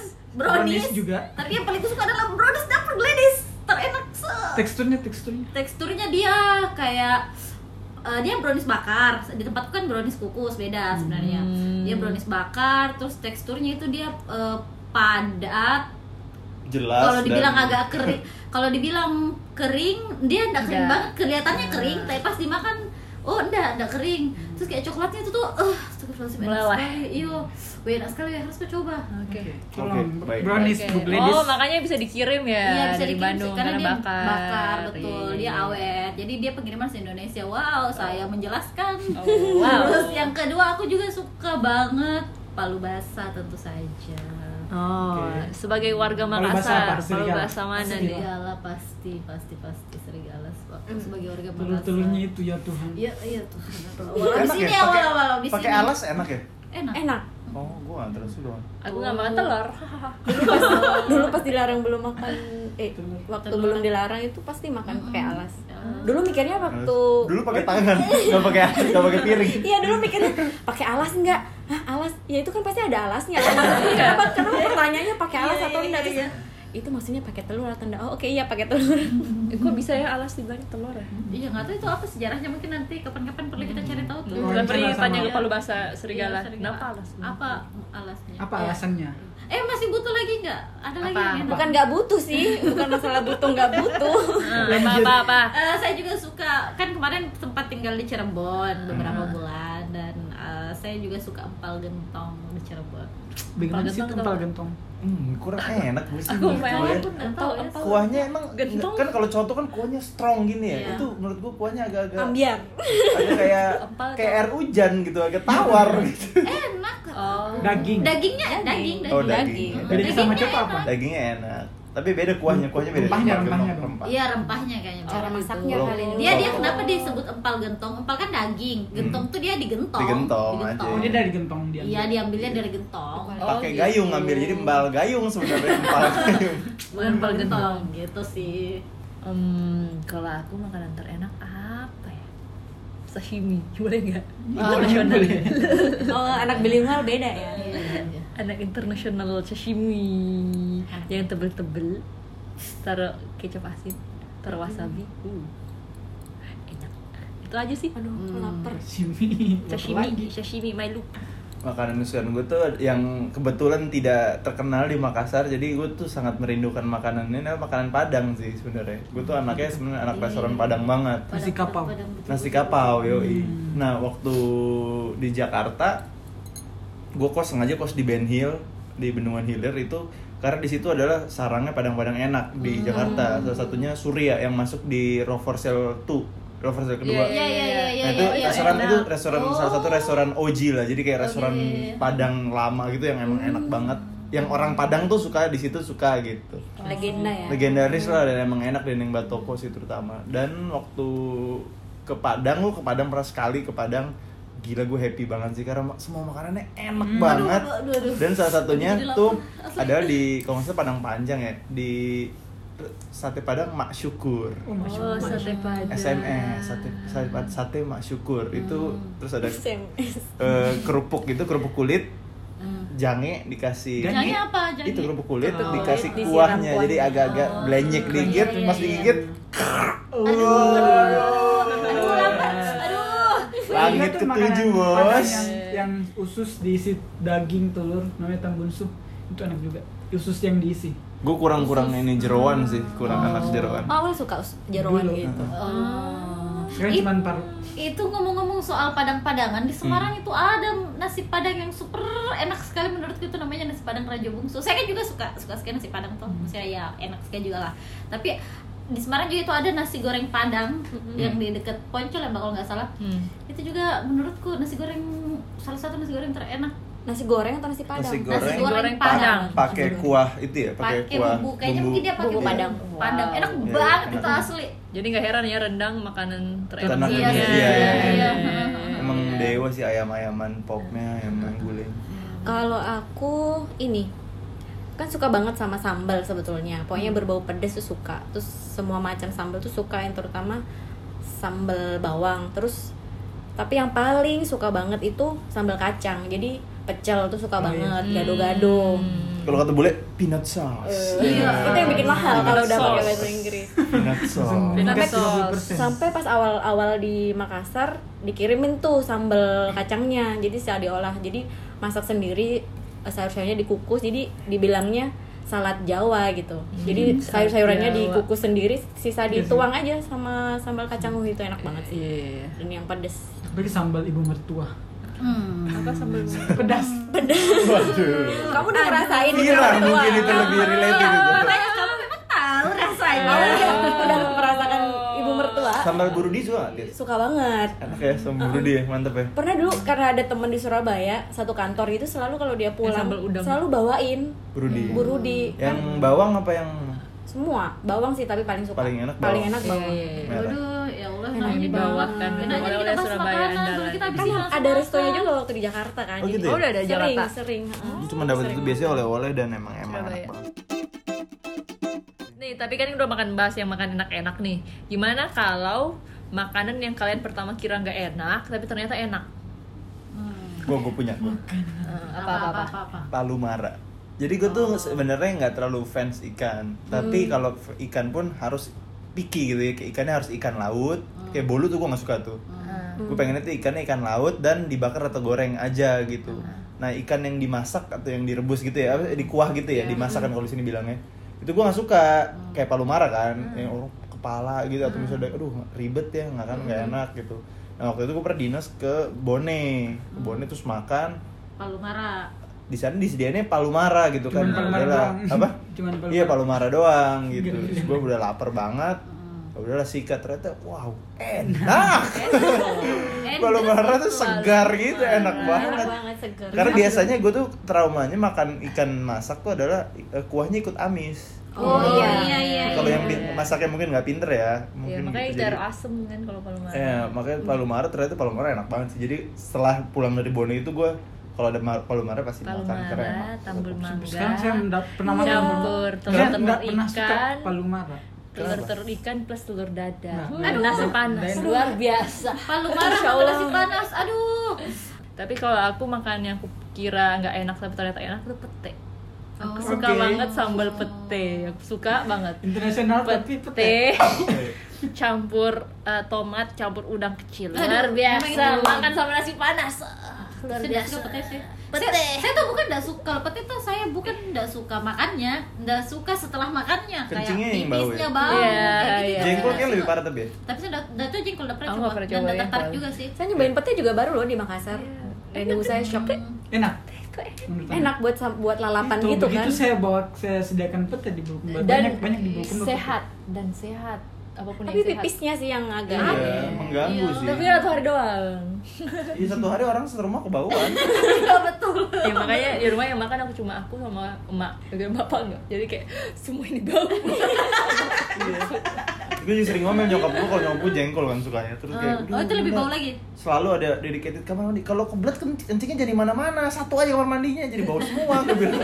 [SPEAKER 3] Brownies
[SPEAKER 2] brownies,
[SPEAKER 3] juga.
[SPEAKER 2] tapi yang paling aku suka adalah brownies dapur Gladys terenak se
[SPEAKER 3] teksturnya teksturnya
[SPEAKER 2] teksturnya dia kayak eh, dia brownies bakar di tempatku kan brownies kukus beda sebenarnya
[SPEAKER 4] Hmm.
[SPEAKER 2] dia brownies bakar terus teksturnya itu dia eh, padat
[SPEAKER 1] Jelas.
[SPEAKER 2] kalau dibilang
[SPEAKER 1] dan-
[SPEAKER 2] agak kering kalau dibilang kering dia enggak kering
[SPEAKER 4] Enggak.
[SPEAKER 2] banget kelihatannya kering tapi pas dimakan oh enggak enggak kering terus kayak coklatnya itu tuh eh astagfirullahaladzim, enak
[SPEAKER 4] Meleleh.
[SPEAKER 2] sekali iyo wih, enak sekali ya harus coba oke
[SPEAKER 3] tolong
[SPEAKER 1] Oke, baik.
[SPEAKER 3] brownies
[SPEAKER 4] Oke.
[SPEAKER 3] bu ladies
[SPEAKER 4] Oh, makanya bisa dikirim ya
[SPEAKER 2] Iya bisa
[SPEAKER 4] dari
[SPEAKER 2] dikirim
[SPEAKER 4] Bandung
[SPEAKER 2] sih, karena, dia
[SPEAKER 4] bakar.
[SPEAKER 2] betul,
[SPEAKER 4] Iya.
[SPEAKER 2] dia awet. Jadi dia pengiriman se Indonesia. Wow, saya menjelaskan.
[SPEAKER 4] Oh, wow.
[SPEAKER 2] Terus yang kedua aku juga suka banget palu basah tentu saja.
[SPEAKER 4] Oh,
[SPEAKER 3] Oke.
[SPEAKER 4] sebagai warga
[SPEAKER 3] Palu basah
[SPEAKER 4] Makassar,
[SPEAKER 3] apa?
[SPEAKER 4] kalau
[SPEAKER 3] Serigala.
[SPEAKER 4] bahasa mana nih?
[SPEAKER 2] Serigala pasti pasti pasti serigala aku
[SPEAKER 4] Hmm.
[SPEAKER 2] sebagai warga
[SPEAKER 3] telur-telurnya
[SPEAKER 2] Makassar.
[SPEAKER 3] itu ya Tuhan
[SPEAKER 2] Iya iya tuh. Walau di
[SPEAKER 1] Enak
[SPEAKER 2] sini
[SPEAKER 1] ya?
[SPEAKER 2] ya,
[SPEAKER 1] Pakai-
[SPEAKER 2] walau walau di sini.
[SPEAKER 1] Pakai alas enak ya?
[SPEAKER 2] Enak.
[SPEAKER 5] Enak.
[SPEAKER 1] Oh, gua nggak terus doang.
[SPEAKER 4] Aku nggak makan telur.
[SPEAKER 5] Dulu pas dilarang belum makan eh waktu
[SPEAKER 2] Telur.
[SPEAKER 5] belum dilarang itu pasti makan pakai alas.
[SPEAKER 2] Alas.
[SPEAKER 5] Dulu mikirnya waktu
[SPEAKER 1] Dulu pakai tangan, nggak pakai nggak pakai piring.
[SPEAKER 5] Iya dulu mikirnya pakai alas enggak? Hah, alas? Ya itu kan pasti ada alasnya. Kenapa kenapa pertanyaannya pakai alas
[SPEAKER 2] Iya,
[SPEAKER 5] atau
[SPEAKER 2] iya,
[SPEAKER 5] enggak?
[SPEAKER 2] iya,
[SPEAKER 5] Terus,
[SPEAKER 2] iya.
[SPEAKER 5] itu maksudnya pakai telur atau enggak? Oh, oke iya pakai telur.
[SPEAKER 2] Oh.
[SPEAKER 4] Eh, Kok bisa ya alas dibalik telur ya?
[SPEAKER 2] Iya nggak tahu itu apa sejarahnya mungkin nanti kapan-kapan perlu kita cari tahu tuh.
[SPEAKER 3] Oh,
[SPEAKER 4] Bukan
[SPEAKER 3] iya.
[SPEAKER 4] pergi tanya ke
[SPEAKER 2] Iya.
[SPEAKER 4] Palu Basah Serigala.
[SPEAKER 2] Iya,
[SPEAKER 4] Kenapa alas?
[SPEAKER 2] Apa alasnya?
[SPEAKER 3] apa
[SPEAKER 2] Iya.
[SPEAKER 3] alasannya
[SPEAKER 2] Eh masih butuh lagi nggak? Ada lagi
[SPEAKER 4] Apa?
[SPEAKER 2] yang enak?
[SPEAKER 5] Bukan enggak butuh sih, bukan masalah butuh enggak butuh.
[SPEAKER 4] Ah, apa apa apa?
[SPEAKER 2] Eh, saya juga suka kan kemarin sempat tinggal di Cirebon beberapa bulan dan eh, saya juga suka empal gentong di Cirebon.
[SPEAKER 3] Bagaimana sih
[SPEAKER 2] gentong
[SPEAKER 3] tumpal
[SPEAKER 2] tau?
[SPEAKER 3] gentong?
[SPEAKER 1] Hmm, kurang enak gue sih
[SPEAKER 4] Aku
[SPEAKER 1] menurut
[SPEAKER 4] pengen
[SPEAKER 1] gue ya.
[SPEAKER 4] pun
[SPEAKER 2] Empal, empal.
[SPEAKER 1] Kuahnya emang
[SPEAKER 4] Gentong.
[SPEAKER 1] kan kalau contoh kan kuahnya strong gini ya.
[SPEAKER 2] Iya.
[SPEAKER 1] Itu menurut gue kuahnya agak-agak
[SPEAKER 5] ambiar
[SPEAKER 1] agak kayak
[SPEAKER 2] Empal
[SPEAKER 1] kayak
[SPEAKER 2] atau- Iya.
[SPEAKER 1] air hujan gitu, agak tawar gitu.
[SPEAKER 2] Enak.
[SPEAKER 4] Oh.
[SPEAKER 3] Daging.
[SPEAKER 2] Dagingnya daging, daging.
[SPEAKER 1] Oh,
[SPEAKER 5] daging.
[SPEAKER 1] daging.
[SPEAKER 2] Daging.
[SPEAKER 3] Bedanya sama
[SPEAKER 2] Dagingnya
[SPEAKER 3] coto apa?
[SPEAKER 1] Dagingnya enak. Tapi beda kuahnya, kuahnya beda.
[SPEAKER 3] Rempahnya,
[SPEAKER 1] Empal
[SPEAKER 3] rempahnya
[SPEAKER 1] gentong,
[SPEAKER 3] dong.
[SPEAKER 1] rempah. Oh,
[SPEAKER 2] Iya rempahnya kayaknya
[SPEAKER 5] cara
[SPEAKER 2] begitu.
[SPEAKER 5] masaknya
[SPEAKER 1] Belum.
[SPEAKER 5] kali ini
[SPEAKER 2] Dia dia kenapa disebut empal gentong? Empal kan daging, gentong tuh dia digentong.
[SPEAKER 1] Digentong
[SPEAKER 3] Oh, dia
[SPEAKER 1] Hmm. aja.
[SPEAKER 3] dari gentong dia. Oh,
[SPEAKER 2] Iya diambilnya dari gentong.
[SPEAKER 4] Oh,
[SPEAKER 1] Pakai
[SPEAKER 4] gitu.
[SPEAKER 1] gayung ngambil jadi embal gayung sebenarnya empal gayung.
[SPEAKER 2] Bukan empal gentong gitu sih.
[SPEAKER 4] Hmm, kalau aku makanan terenak apa ya? Sashimi, boleh nggak?
[SPEAKER 3] Oh,
[SPEAKER 4] Internasional.
[SPEAKER 3] boleh.
[SPEAKER 5] oh anak bilingual beda
[SPEAKER 1] Iya,
[SPEAKER 5] ya
[SPEAKER 4] Anak internasional sashimi yang tebel-tebel, taruh kecap asin, taruh wasabi,
[SPEAKER 2] Iya.
[SPEAKER 4] uh, enak. Itu aja sih.
[SPEAKER 5] aduh
[SPEAKER 2] Hmm.
[SPEAKER 5] lapar
[SPEAKER 3] Sashimi.
[SPEAKER 4] Sashimi, sashimi my look.
[SPEAKER 1] makanan kesukaan gue tuh yang kebetulan tidak terkenal di Makassar jadi gue tuh sangat merindukan makanan ini namanya makanan Padang sih sebenarnya gue tuh anaknya sebenarnya anak
[SPEAKER 2] Iya.
[SPEAKER 1] restoran Padang banget
[SPEAKER 3] Nasi kapau.
[SPEAKER 1] nasi kapau yoi
[SPEAKER 3] Hmm.
[SPEAKER 1] nah waktu di Jakarta gue kos sengaja kos di Ben Hill di Bendungan Hilir itu karena di situ adalah sarangnya padang-padang enak di
[SPEAKER 2] Hmm.
[SPEAKER 1] Jakarta salah satunya Surya yang masuk di Roversel 2 Roversel kedua
[SPEAKER 2] Iya iya iya iya.
[SPEAKER 1] Nah, itu
[SPEAKER 2] iya, iya,
[SPEAKER 1] restoran
[SPEAKER 2] enak.
[SPEAKER 1] itu restoran salah satu
[SPEAKER 2] Oh.
[SPEAKER 1] restoran OG lah. Jadi kayak
[SPEAKER 2] Oke. Hmm.
[SPEAKER 1] restoran Padang lama gitu yang emang enak banget. Yang orang Padang tuh suka di situ suka gitu.
[SPEAKER 5] legenda ya
[SPEAKER 1] Legendaris lah dan emang enak dan yang batoko sih terutama. Dan waktu ke Padang lu ke Padang pernah sekali ke Padang gila gue happy banget sih karena ma- semua makanannya enak banget
[SPEAKER 2] Hmm. aduh, aduh, aduh.
[SPEAKER 1] dan salah satunya
[SPEAKER 2] Jadi lapar.
[SPEAKER 1] tuh adalah di kalau nggak salah Padang Panjang ya di sate Padang Mak Syukur
[SPEAKER 3] Oh, Masya
[SPEAKER 4] Oh,
[SPEAKER 3] Allah.
[SPEAKER 4] sate padang.
[SPEAKER 1] SMS sate sate, sate mak syukur itu terus ada
[SPEAKER 5] SMS
[SPEAKER 1] eh, kerupuk gitu kerupuk kulit
[SPEAKER 2] Hmm.
[SPEAKER 1] jange dikasih
[SPEAKER 3] Jange
[SPEAKER 2] Jangan apa jangan.
[SPEAKER 1] itu kerupuk kulit tuh
[SPEAKER 4] Oh,
[SPEAKER 1] dikasih
[SPEAKER 5] disiram
[SPEAKER 1] kuahnya jadi
[SPEAKER 5] kuahnya.
[SPEAKER 1] agak-agak
[SPEAKER 2] Oh,
[SPEAKER 1] blenyek
[SPEAKER 2] iya,
[SPEAKER 1] dikit
[SPEAKER 2] iya,
[SPEAKER 1] pas
[SPEAKER 2] iya.
[SPEAKER 1] digigit
[SPEAKER 2] Aduh, aduh, aduh, lapar. Aduh.
[SPEAKER 1] langit
[SPEAKER 3] Ada tuh
[SPEAKER 1] ketujuh
[SPEAKER 3] Iya, makanan- ya. makanan
[SPEAKER 1] bos
[SPEAKER 3] Yang, yang usus diisi daging telur namanya tambunsu itu enak juga. Usus yang diisi.
[SPEAKER 1] gue kurang-kurang ini jeroan sih kurang anak jeroan
[SPEAKER 5] oh awal suka us- jeroan
[SPEAKER 3] Dulu.
[SPEAKER 5] gitu
[SPEAKER 2] Oh.
[SPEAKER 3] Sekarang
[SPEAKER 2] Ih.
[SPEAKER 3] cuma paru.
[SPEAKER 2] itu ngomong-ngomong soal padang-padangan di
[SPEAKER 1] Hmm.
[SPEAKER 2] Semarang itu ada nasi padang yang super enak sekali menurutku itu namanya nasi padang Raja Bungsu saya kan juga suka suka sekali nasi padang
[SPEAKER 1] Hmm.
[SPEAKER 2] tuh maksudnya ya enak sekali juga lah tapi di Semarang juga itu ada nasi goreng padang
[SPEAKER 1] Hmm.
[SPEAKER 2] yang di deket Poncol ya Mbak, kalau nggak salah
[SPEAKER 4] Hmm.
[SPEAKER 2] itu juga menurutku nasi goreng salah satu nasi goreng terenak
[SPEAKER 5] nasi goreng atau nasi padang
[SPEAKER 1] Nasi
[SPEAKER 2] nasi
[SPEAKER 1] Goreng
[SPEAKER 2] goreng,
[SPEAKER 4] padang.
[SPEAKER 2] padang
[SPEAKER 1] pakai kuah itu ya pakai
[SPEAKER 2] pakai
[SPEAKER 1] kuah
[SPEAKER 2] bumbu ya. kayaknya mungkin dia pakai
[SPEAKER 5] Bumbu padang.
[SPEAKER 2] padang enak
[SPEAKER 1] Wow.
[SPEAKER 2] banget
[SPEAKER 1] Iya,
[SPEAKER 2] itu
[SPEAKER 1] enak.
[SPEAKER 2] asli
[SPEAKER 4] Jadi nggak heran ya rendang makanan
[SPEAKER 1] Terenak
[SPEAKER 4] terenak.
[SPEAKER 1] dunia. Iya, iya,
[SPEAKER 4] iya.
[SPEAKER 2] iya.
[SPEAKER 1] emang dewa sih ayam-ayaman popnya ayam guling
[SPEAKER 5] Kalau aku ini kan suka banget sama sambal sebetulnya. Pokoknya berbau pedas tuh suka. Terus semua macam sambal tuh suka yang terutama sambal bawang. Terus tapi yang paling suka banget itu sambal kacang. Jadi pecel tuh suka
[SPEAKER 3] Oh, iya.
[SPEAKER 5] banget, gado-gado.
[SPEAKER 1] kalau kata boleh peanut sauce
[SPEAKER 5] Iya, itu yang bikin mahal kalau udah
[SPEAKER 4] Sauce.
[SPEAKER 5] pakai bahasa Inggris.
[SPEAKER 1] peanut sauce
[SPEAKER 4] Peanut
[SPEAKER 3] Sampai-
[SPEAKER 4] sauce.
[SPEAKER 5] Sampai pas awal-awal di Makassar dikirimin tuh sambal kacangnya. Jadi saya diolah. Jadi masak sendiri eh, sayur-sayurnya dikukus. Jadi dibilangnya salad Jawa gitu. Jadi
[SPEAKER 4] Hmm, salad
[SPEAKER 5] sayur-sayurannya
[SPEAKER 4] Jawa.
[SPEAKER 5] dikukus sendiri,
[SPEAKER 3] Iya sih.
[SPEAKER 5] sisa dituang aja sama sambal kacang Wih, itu enak banget sih.
[SPEAKER 4] Iya.
[SPEAKER 5] Dan yang pedes.
[SPEAKER 3] Apalagi sambal ibu mertua.
[SPEAKER 2] Hmm.
[SPEAKER 4] Apa sambal
[SPEAKER 3] Pedas.
[SPEAKER 1] waduh
[SPEAKER 5] Kamu udah ngerasain di
[SPEAKER 1] Kira
[SPEAKER 5] orang tua.
[SPEAKER 1] mungkin itu lebih related itu.
[SPEAKER 2] makanya kamu memang tahu rasanya
[SPEAKER 5] Kamu udah- udah merasakan ibu mertua.
[SPEAKER 1] Sambal burudi juga nggak, Tis?
[SPEAKER 5] Suka banget.
[SPEAKER 1] Enak ya sambal burudi ya, mantep ya.
[SPEAKER 5] Pernah dulu karena ada temen di Surabaya, satu kantor gitu selalu kalau dia pulang
[SPEAKER 4] sambal udang.
[SPEAKER 5] selalu bawain
[SPEAKER 1] Burudi.
[SPEAKER 5] Hmm, burudi.
[SPEAKER 1] Yang bawang apa yang
[SPEAKER 5] semua bawang sih tapi paling suka
[SPEAKER 1] Paling enak bawang.
[SPEAKER 5] enak
[SPEAKER 4] Iya,
[SPEAKER 5] bawang
[SPEAKER 4] iya, iya.
[SPEAKER 1] merah?
[SPEAKER 2] Aduh, ya Allah,
[SPEAKER 5] Enak
[SPEAKER 2] namanya
[SPEAKER 4] dibawakan.
[SPEAKER 2] Enak aja kita
[SPEAKER 4] Oleh-oleh
[SPEAKER 2] bahas
[SPEAKER 4] Surabaya
[SPEAKER 2] makanan, dulu
[SPEAKER 4] andalan.
[SPEAKER 2] kita habisin
[SPEAKER 5] kan
[SPEAKER 2] langsung
[SPEAKER 5] ada
[SPEAKER 2] makan.
[SPEAKER 5] restonya juga waktu di Jakarta kan
[SPEAKER 1] Oh, gitu
[SPEAKER 5] jadi
[SPEAKER 1] ya?
[SPEAKER 4] Oh, udah ada
[SPEAKER 5] sering
[SPEAKER 4] Jakarta.
[SPEAKER 5] sering ya. heeh.
[SPEAKER 1] Lu cuma dapat itu biasanya oleh-oleh dan emang emang enak
[SPEAKER 4] Surabaya.
[SPEAKER 1] banget.
[SPEAKER 4] Nih, tapi kan udah makan bahas yang makan enak-enak nih. Gimana kalau makanan yang kalian pertama kira nggak enak, tapi ternyata enak? Eh,
[SPEAKER 1] Gua gua punya
[SPEAKER 5] Hmm.
[SPEAKER 1] gua.
[SPEAKER 4] Apa-apa?
[SPEAKER 2] apa.
[SPEAKER 1] Palu Mara. Jadi gue tuh sebenarnya nggak terlalu fans ikan, tapi kalau f- ikan pun harus picky gitu ya. Kayak ikannya harus ikan laut. Kayak bolu tuh gue nggak suka tuh. Gue pengennya tuh ikannya ikan laut dan dibakar atau goreng aja gitu. Nah ikan yang dimasak atau yang direbus gitu ya, apa, dikuah gitu ya, dimasak kan kalau di sini bilangnya. Itu gue nggak suka. Kayak palu mara kan, yang orang kepala gitu atau misalnya, aduh ribet ya, nggak kan nggak enak gitu. Nah, waktu itu gue pernah dinas ke Bone. Ke Bone terus makan.
[SPEAKER 2] Palumara
[SPEAKER 1] Di sana disediainnya palumara gitu kan.
[SPEAKER 3] Cuman Palumara
[SPEAKER 1] Udahlah.
[SPEAKER 3] doang.
[SPEAKER 1] Apa?
[SPEAKER 3] Cuman Palumara.
[SPEAKER 1] Iya, palumara doang gitu.
[SPEAKER 3] Gila.
[SPEAKER 1] Terus gue udah lapar banget. Udahlah sikat ternyata wow, enak.
[SPEAKER 2] Eh,
[SPEAKER 1] Palumara tuh
[SPEAKER 2] terus
[SPEAKER 1] segar
[SPEAKER 2] lalu.
[SPEAKER 1] gitu, enak banget.
[SPEAKER 5] enak banget segar
[SPEAKER 1] Karena biasanya gue tuh traumanya makan ikan masak tuh adalah eh, kuahnya ikut amis.
[SPEAKER 5] Oh, iya.
[SPEAKER 2] iya iya
[SPEAKER 1] Kalau yang
[SPEAKER 2] iya.
[SPEAKER 1] di- masaknya mungkin nggak pinter ya,
[SPEAKER 4] Ya,
[SPEAKER 1] mungkin
[SPEAKER 4] makanya
[SPEAKER 1] gitu.
[SPEAKER 4] jarum
[SPEAKER 1] Jadi-
[SPEAKER 4] asem kan kalau palumara.
[SPEAKER 1] Ya, makanya Palumara ternyata Palumara enak banget sih. Jadi setelah pulang dari Bone itu gue kalau ada mar- Palumara pasti makan Iya. keren.
[SPEAKER 4] Palumara, tambur mangga.
[SPEAKER 3] Sekarang saya ndak pernah makan
[SPEAKER 4] Campur
[SPEAKER 3] palumara.
[SPEAKER 4] telur
[SPEAKER 3] Saya
[SPEAKER 4] telur
[SPEAKER 3] ndak pernah suka
[SPEAKER 4] ikan.
[SPEAKER 3] palumara.
[SPEAKER 4] Telur telur ikan plus telur
[SPEAKER 3] Nah,
[SPEAKER 4] dadar. Hmm,
[SPEAKER 3] aduh.
[SPEAKER 4] nasi panas
[SPEAKER 3] Aduh.
[SPEAKER 4] luar biasa.
[SPEAKER 2] Palumara
[SPEAKER 4] Masya
[SPEAKER 2] sama
[SPEAKER 4] Allah.
[SPEAKER 2] nasi panas. Aduh.
[SPEAKER 4] Tapi kalau aku makan yang aku kira nggak enak tapi ternyata enak itu pete. Aku
[SPEAKER 3] Oh,
[SPEAKER 4] suka
[SPEAKER 3] oke.
[SPEAKER 4] banget sambal pete. Aku suka banget.
[SPEAKER 3] Internasional Ah, tapi pete.
[SPEAKER 4] Pete campur eh, tomat campur udang kecil.
[SPEAKER 2] Aduh,
[SPEAKER 4] Luar biasa.
[SPEAKER 2] emang itu.
[SPEAKER 4] Makan sama nasi panas. Ah, Luar
[SPEAKER 2] Saya nggak
[SPEAKER 4] biasa.
[SPEAKER 2] suka pete sih.
[SPEAKER 4] Pete.
[SPEAKER 2] Saya, saya tuh bukan nggak suka kalau pete tuh saya bukan nggak suka makannya, nggak suka setelah makannya kayak
[SPEAKER 1] Kencingnya yang bau
[SPEAKER 2] pipisnya
[SPEAKER 1] ya?
[SPEAKER 2] bau.
[SPEAKER 4] Iya,
[SPEAKER 2] kayak gitu.
[SPEAKER 4] iya.
[SPEAKER 1] Jengkol
[SPEAKER 2] Nggak
[SPEAKER 1] kayaknya lebih
[SPEAKER 2] suka.
[SPEAKER 1] parah tapi ya.
[SPEAKER 2] Tapi saya udah- udah tuh jengkol udah pernah
[SPEAKER 4] Aku
[SPEAKER 2] coba
[SPEAKER 4] nggak pernah
[SPEAKER 2] dan nggak
[SPEAKER 4] cobain,
[SPEAKER 2] tertarik
[SPEAKER 4] Bang.
[SPEAKER 2] juga sih.
[SPEAKER 5] saya nyobain pete juga baru loh di Makassar dan ibu saya shock
[SPEAKER 3] Enak. Menurut Anda?
[SPEAKER 5] enak buat sam- buat lalapan
[SPEAKER 3] Itu,
[SPEAKER 5] gitu kan
[SPEAKER 3] begitu saya bawa saya sediakan pete di Bulukumba.
[SPEAKER 4] Dan eh,
[SPEAKER 3] Banyak banyak di Bulukumba.
[SPEAKER 4] sehat dan sehat. Apapun
[SPEAKER 5] tapi
[SPEAKER 4] yang sehat.
[SPEAKER 5] pipisnya sih yang agak
[SPEAKER 1] Iya, mengganggu
[SPEAKER 2] Iya,
[SPEAKER 1] sih.
[SPEAKER 4] Tapi satu hari doang.
[SPEAKER 1] Iya, satu hari orang serumah kebauan.
[SPEAKER 2] Iya betul.
[SPEAKER 4] ya makanya di rumah yang makan aku cuma aku sama emak dan bapak enggak jadi kayak semua ini bau
[SPEAKER 1] gue juga sering ngomel nyokap gue kalau nyokap gue jengkol kan sukanya terus kayak
[SPEAKER 2] Oh, itu
[SPEAKER 1] "Duh,
[SPEAKER 2] lebih
[SPEAKER 1] Bunda,
[SPEAKER 2] bau lagi?
[SPEAKER 1] selalu ada dedicated kamar mandi kalau kebelet kenc- kencingnya jadi mana-mana satu aja kamar mandinya jadi bau semua gue bilang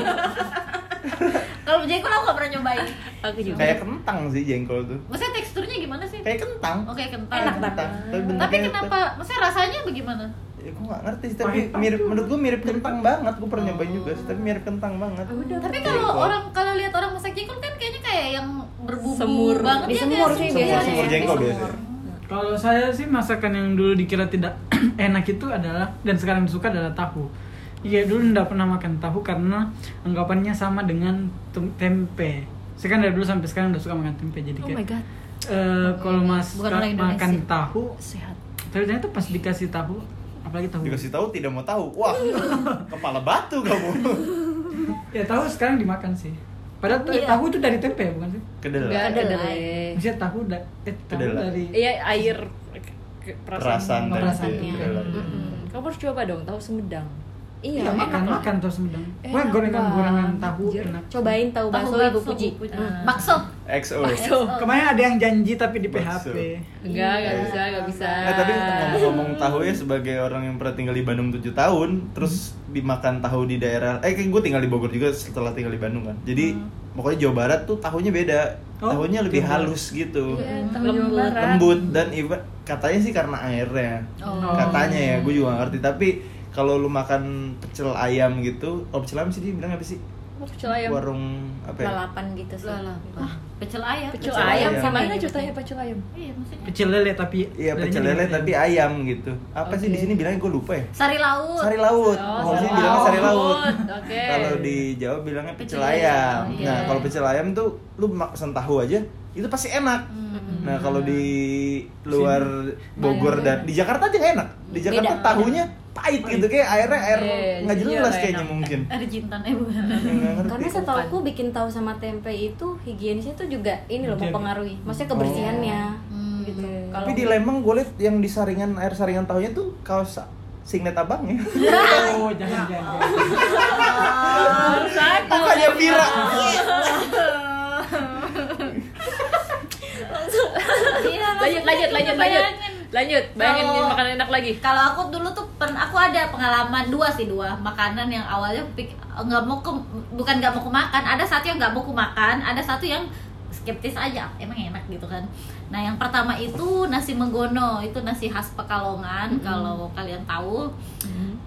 [SPEAKER 2] Kalau jengkol aku nggak pernah nyobain.
[SPEAKER 4] aku
[SPEAKER 2] Iya
[SPEAKER 4] juga
[SPEAKER 1] kayak kentang sih jengkol tuh
[SPEAKER 2] Maksudnya teksturnya gimana sih?
[SPEAKER 1] kayak kentang
[SPEAKER 2] Oke, kental.
[SPEAKER 1] Kayak
[SPEAKER 5] Enak tapi.
[SPEAKER 1] kentang
[SPEAKER 2] Tapi kenapa? Maksudnya rasanya bagaimana?
[SPEAKER 1] ya, gue gak ngerti sih tapi
[SPEAKER 3] Pahit.
[SPEAKER 1] mirip menurut gue mirip kentang banget gue pernah nyobain juga sih tapi mirip kentang banget
[SPEAKER 2] Tapi kalau
[SPEAKER 1] Jengkol.
[SPEAKER 2] orang kalau lihat orang masak jengkol kan kayaknya kayak yang berbumbu
[SPEAKER 4] Semur.
[SPEAKER 2] banget ya
[SPEAKER 5] Disemur
[SPEAKER 2] kayak
[SPEAKER 5] sih
[SPEAKER 2] semur.
[SPEAKER 1] semur
[SPEAKER 5] biasanya
[SPEAKER 1] semur
[SPEAKER 5] ya,
[SPEAKER 1] jengkol
[SPEAKER 5] semur.
[SPEAKER 1] biasanya
[SPEAKER 3] Kalau saya sih masakan yang dulu dikira tidak enak itu adalah dan sekarang disuka adalah tahu. Iya dulu nggak pernah makan tahu karena anggapannya sama dengan tem- tempe. Saya kan dari dulu sampai sekarang udah suka makan tempe jadi
[SPEAKER 4] oh
[SPEAKER 3] kayak
[SPEAKER 4] my god
[SPEAKER 3] eh, kalau mas
[SPEAKER 2] Bukan orang Indonesia.
[SPEAKER 3] makan tahu,
[SPEAKER 4] sehat
[SPEAKER 3] tapi ternyata pas dikasih tahu apalagi tahu.
[SPEAKER 1] dikasih tahu tidak mau tahu wah kepala batu kamu
[SPEAKER 3] Ya tahu sekarang dimakan sih. Padahal ta-
[SPEAKER 5] Iya.
[SPEAKER 3] tahu itu dari tempe bukan sih?
[SPEAKER 4] enggak
[SPEAKER 1] kedelai
[SPEAKER 5] Kedelai.
[SPEAKER 4] kedelai
[SPEAKER 3] Maksudnya tahu, da- eh, tahu
[SPEAKER 1] Kedelai.
[SPEAKER 3] dari
[SPEAKER 4] iya air ke- ke-
[SPEAKER 1] perasaan
[SPEAKER 4] perasaan
[SPEAKER 1] dari
[SPEAKER 3] perasaannya.
[SPEAKER 1] si kedelai.
[SPEAKER 4] Hmm, kamu harus coba dong tahu semedang
[SPEAKER 5] iya
[SPEAKER 3] Iya, makan
[SPEAKER 5] enak.
[SPEAKER 3] makan terus sedang.
[SPEAKER 4] Enak
[SPEAKER 3] Wah gorengan gorengan tahu
[SPEAKER 4] banget.
[SPEAKER 3] enak.
[SPEAKER 5] cobain
[SPEAKER 2] Tahu
[SPEAKER 5] tahu bakso
[SPEAKER 2] bakso,
[SPEAKER 5] ibu puji
[SPEAKER 2] Bu Puji.
[SPEAKER 5] Mm.
[SPEAKER 2] Bakso.
[SPEAKER 1] XO
[SPEAKER 4] so
[SPEAKER 3] Kemarin ada yang janji tapi di
[SPEAKER 1] Bakso.
[SPEAKER 3] PHP.
[SPEAKER 4] enggak enggak bisa enggak bisa
[SPEAKER 1] Eh, tapi ngomong-ngomong tahu ya sebagai orang yang pernah tinggal di Bandung 7 tahun, terus dimakan tahu di daerah eh gue tinggal di Bogor juga setelah tinggal di Bandung kan. Jadi pokoknya Jawa Barat tuh tahunya beda.
[SPEAKER 3] Oh,
[SPEAKER 1] tahunya lebih
[SPEAKER 3] Jawa Barat.
[SPEAKER 1] halus gitu.
[SPEAKER 4] Iya, tahu Jawa
[SPEAKER 2] Lembut.
[SPEAKER 4] Barat.
[SPEAKER 1] Lembut dan even katanya sih karena airnya.
[SPEAKER 2] Oh.
[SPEAKER 1] Katanya ya, gue juga gak ngerti, tapi kalau lu makan pecel ayam gitu, oh pecel ayam sih dia bilang apa sih?
[SPEAKER 4] Apa pecel ayam
[SPEAKER 1] Warung apa ya?
[SPEAKER 5] lalapan gitu sih
[SPEAKER 2] Lah, lah. Ah, pecel ayam.
[SPEAKER 4] pecel
[SPEAKER 1] Pecel
[SPEAKER 4] ayam
[SPEAKER 1] ayam.
[SPEAKER 4] sama ini
[SPEAKER 5] Iya.
[SPEAKER 4] ceritanya pecel ayam
[SPEAKER 2] Iya, maksudnya.
[SPEAKER 3] pecel lele tapi
[SPEAKER 1] Iya,
[SPEAKER 3] lelenya
[SPEAKER 1] pecel lele
[SPEAKER 3] dimakan.
[SPEAKER 1] tapi ayam gitu. Apa sih di
[SPEAKER 4] Oke.
[SPEAKER 1] sini bilangnya gue lupa ya?
[SPEAKER 2] Sari laut.
[SPEAKER 1] Sari laut.
[SPEAKER 4] Oh,
[SPEAKER 1] Kalau
[SPEAKER 4] sari
[SPEAKER 1] sini bilangnya sari laut.
[SPEAKER 4] laut. Oke.
[SPEAKER 1] Kalau di Jawa bilangnya pecel
[SPEAKER 2] Pecel
[SPEAKER 1] ayam.
[SPEAKER 2] ayam,
[SPEAKER 1] Nah,
[SPEAKER 2] iya.
[SPEAKER 1] kalau pecel ayam tuh lu pesen tahu aja, itu pasti enak.
[SPEAKER 2] Hmm.
[SPEAKER 1] Nah, kalau di luar Bogor dan di Jakarta aja nggak enak. Di Jakarta
[SPEAKER 5] Beda.
[SPEAKER 1] tahunya pahit gitu kayak airnya air
[SPEAKER 4] Iya,
[SPEAKER 1] nggak
[SPEAKER 4] jadi
[SPEAKER 1] jelas
[SPEAKER 4] nggak
[SPEAKER 1] kayaknya
[SPEAKER 4] enak.
[SPEAKER 1] mungkin.
[SPEAKER 2] Ada jintan eh
[SPEAKER 5] Iya,
[SPEAKER 2] bukan.
[SPEAKER 1] Nggak ngerti.
[SPEAKER 5] karena setahuku bikin tahu sama tempe itu higienisnya tuh juga ini loh
[SPEAKER 3] Menjaga.
[SPEAKER 5] mempengaruhi maksudnya kebersihannya
[SPEAKER 2] Hmm.
[SPEAKER 5] gitu kalau
[SPEAKER 1] Oh. Tapi di Lembang gue liat yang di saringan air saringan tahunya tuh kaos singlet abang ya.
[SPEAKER 3] oh jangan jangan
[SPEAKER 4] harus ada
[SPEAKER 1] Makanya Vira.
[SPEAKER 2] Iya,
[SPEAKER 4] lanjut lanjut lanjut
[SPEAKER 5] gitu
[SPEAKER 4] lanjut
[SPEAKER 5] kan.
[SPEAKER 4] lanjut bayangin
[SPEAKER 2] Kalau-
[SPEAKER 4] makanan enak lagi
[SPEAKER 2] Kalau aku dulu tuh pen, aku ada pengalaman dua sih dua makanan yang awalnya aku pik- nggak mau ke bukan nggak mau kemakan ada satu yang nggak mau kemakan ada satu yang skeptis aja emang enak gitu kan nah yang pertama itu nasi menggono itu nasi khas Pekalongan kalau kalian tahu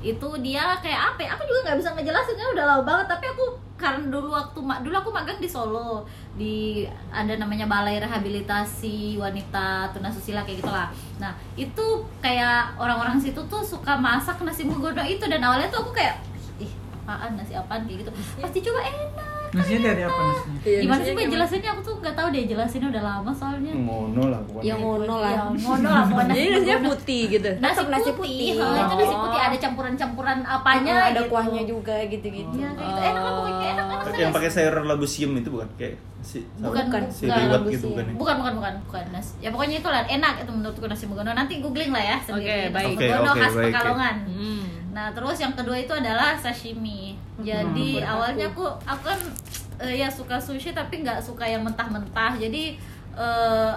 [SPEAKER 2] itu dia kayak apa ya, aku juga nggak bisa ngejelasin kan udah lama banget tapi aku karena dulu waktu ma- dulu aku magang di Solo di ada namanya balai rehabilitasi wanita tunasusila kayak gitulah nah itu kayak orang-orang situ tuh suka masak
[SPEAKER 1] Iya.
[SPEAKER 2] nasi menggono itu dan awalnya tuh aku kayak ih apaan nasi apaan kayak gitu pasti coba enak
[SPEAKER 3] Nasinya dari apa nasinya?
[SPEAKER 2] Gimana sih Mbak jelasinnya? Aku tuh nggak tahu deh jelasinnya udah lama soalnya.
[SPEAKER 1] ngono lah pokoknya
[SPEAKER 5] Yang
[SPEAKER 2] Ya
[SPEAKER 5] ngono lah.
[SPEAKER 2] ngono lah pokoknya
[SPEAKER 4] Jadi
[SPEAKER 2] nasi
[SPEAKER 4] nasinya
[SPEAKER 2] goreng.
[SPEAKER 4] putih gitu.
[SPEAKER 2] Nasi,
[SPEAKER 5] Tetap nasi
[SPEAKER 2] putih,
[SPEAKER 5] putih. Hmm,
[SPEAKER 2] heeh, itu nasi
[SPEAKER 4] Oh.
[SPEAKER 2] putih ada campuran-campuran apanya
[SPEAKER 5] ada
[SPEAKER 2] gitu.
[SPEAKER 5] kuahnya juga gitu-gitu.
[SPEAKER 2] Iya, kayak gitu. Enak lah pokoknya, enak enak.
[SPEAKER 1] Tapi
[SPEAKER 2] enak.
[SPEAKER 1] Oh. yang pakai sayur labusium itu bukan kayak si
[SPEAKER 2] bukan
[SPEAKER 5] Bukan.
[SPEAKER 1] si
[SPEAKER 2] bukan.
[SPEAKER 1] liwet gitu bukan ya?
[SPEAKER 2] Bukan, bukan, bukan, bukan. Nas. Ya pokoknya itu lah enak itu menurutku nasi megono. Nanti googling lah ya sendiri.
[SPEAKER 4] Oke,
[SPEAKER 2] nasi
[SPEAKER 4] baik.
[SPEAKER 1] Oke,
[SPEAKER 2] megono
[SPEAKER 1] oke,
[SPEAKER 2] khas
[SPEAKER 1] baik, ya.
[SPEAKER 2] Pekalongan.
[SPEAKER 4] Hmm.
[SPEAKER 2] Nah, terus yang kedua itu adalah sashimi. Jadi
[SPEAKER 3] Hmm,
[SPEAKER 2] awalnya aku aku kan eh, ya suka sushi tapi nggak suka yang mentah-mentah. Jadi eh,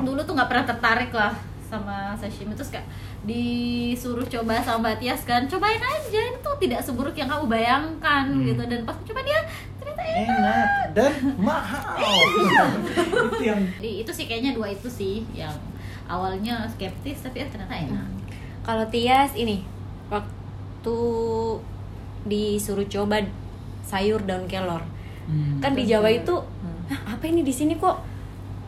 [SPEAKER 2] dulu tuh nggak pernah tertarik lah sama sashimi terus kayak disuruh coba sama Mbak Tias kan cobain aja itu tidak seburuk yang kamu bayangkan
[SPEAKER 1] Hmm.
[SPEAKER 2] gitu dan pas coba dia ternyata enak
[SPEAKER 1] Enak dan mahal.
[SPEAKER 3] Itu yang
[SPEAKER 2] Jadi itu sih kayaknya dua itu sih yang awalnya skeptis tapi ya ternyata enak.
[SPEAKER 5] Kalau Tias ini waktu disuruh coba sayur daun kelor.
[SPEAKER 2] Hmm,
[SPEAKER 5] Kan di Jawa itu "Hah, apa ini di sini kok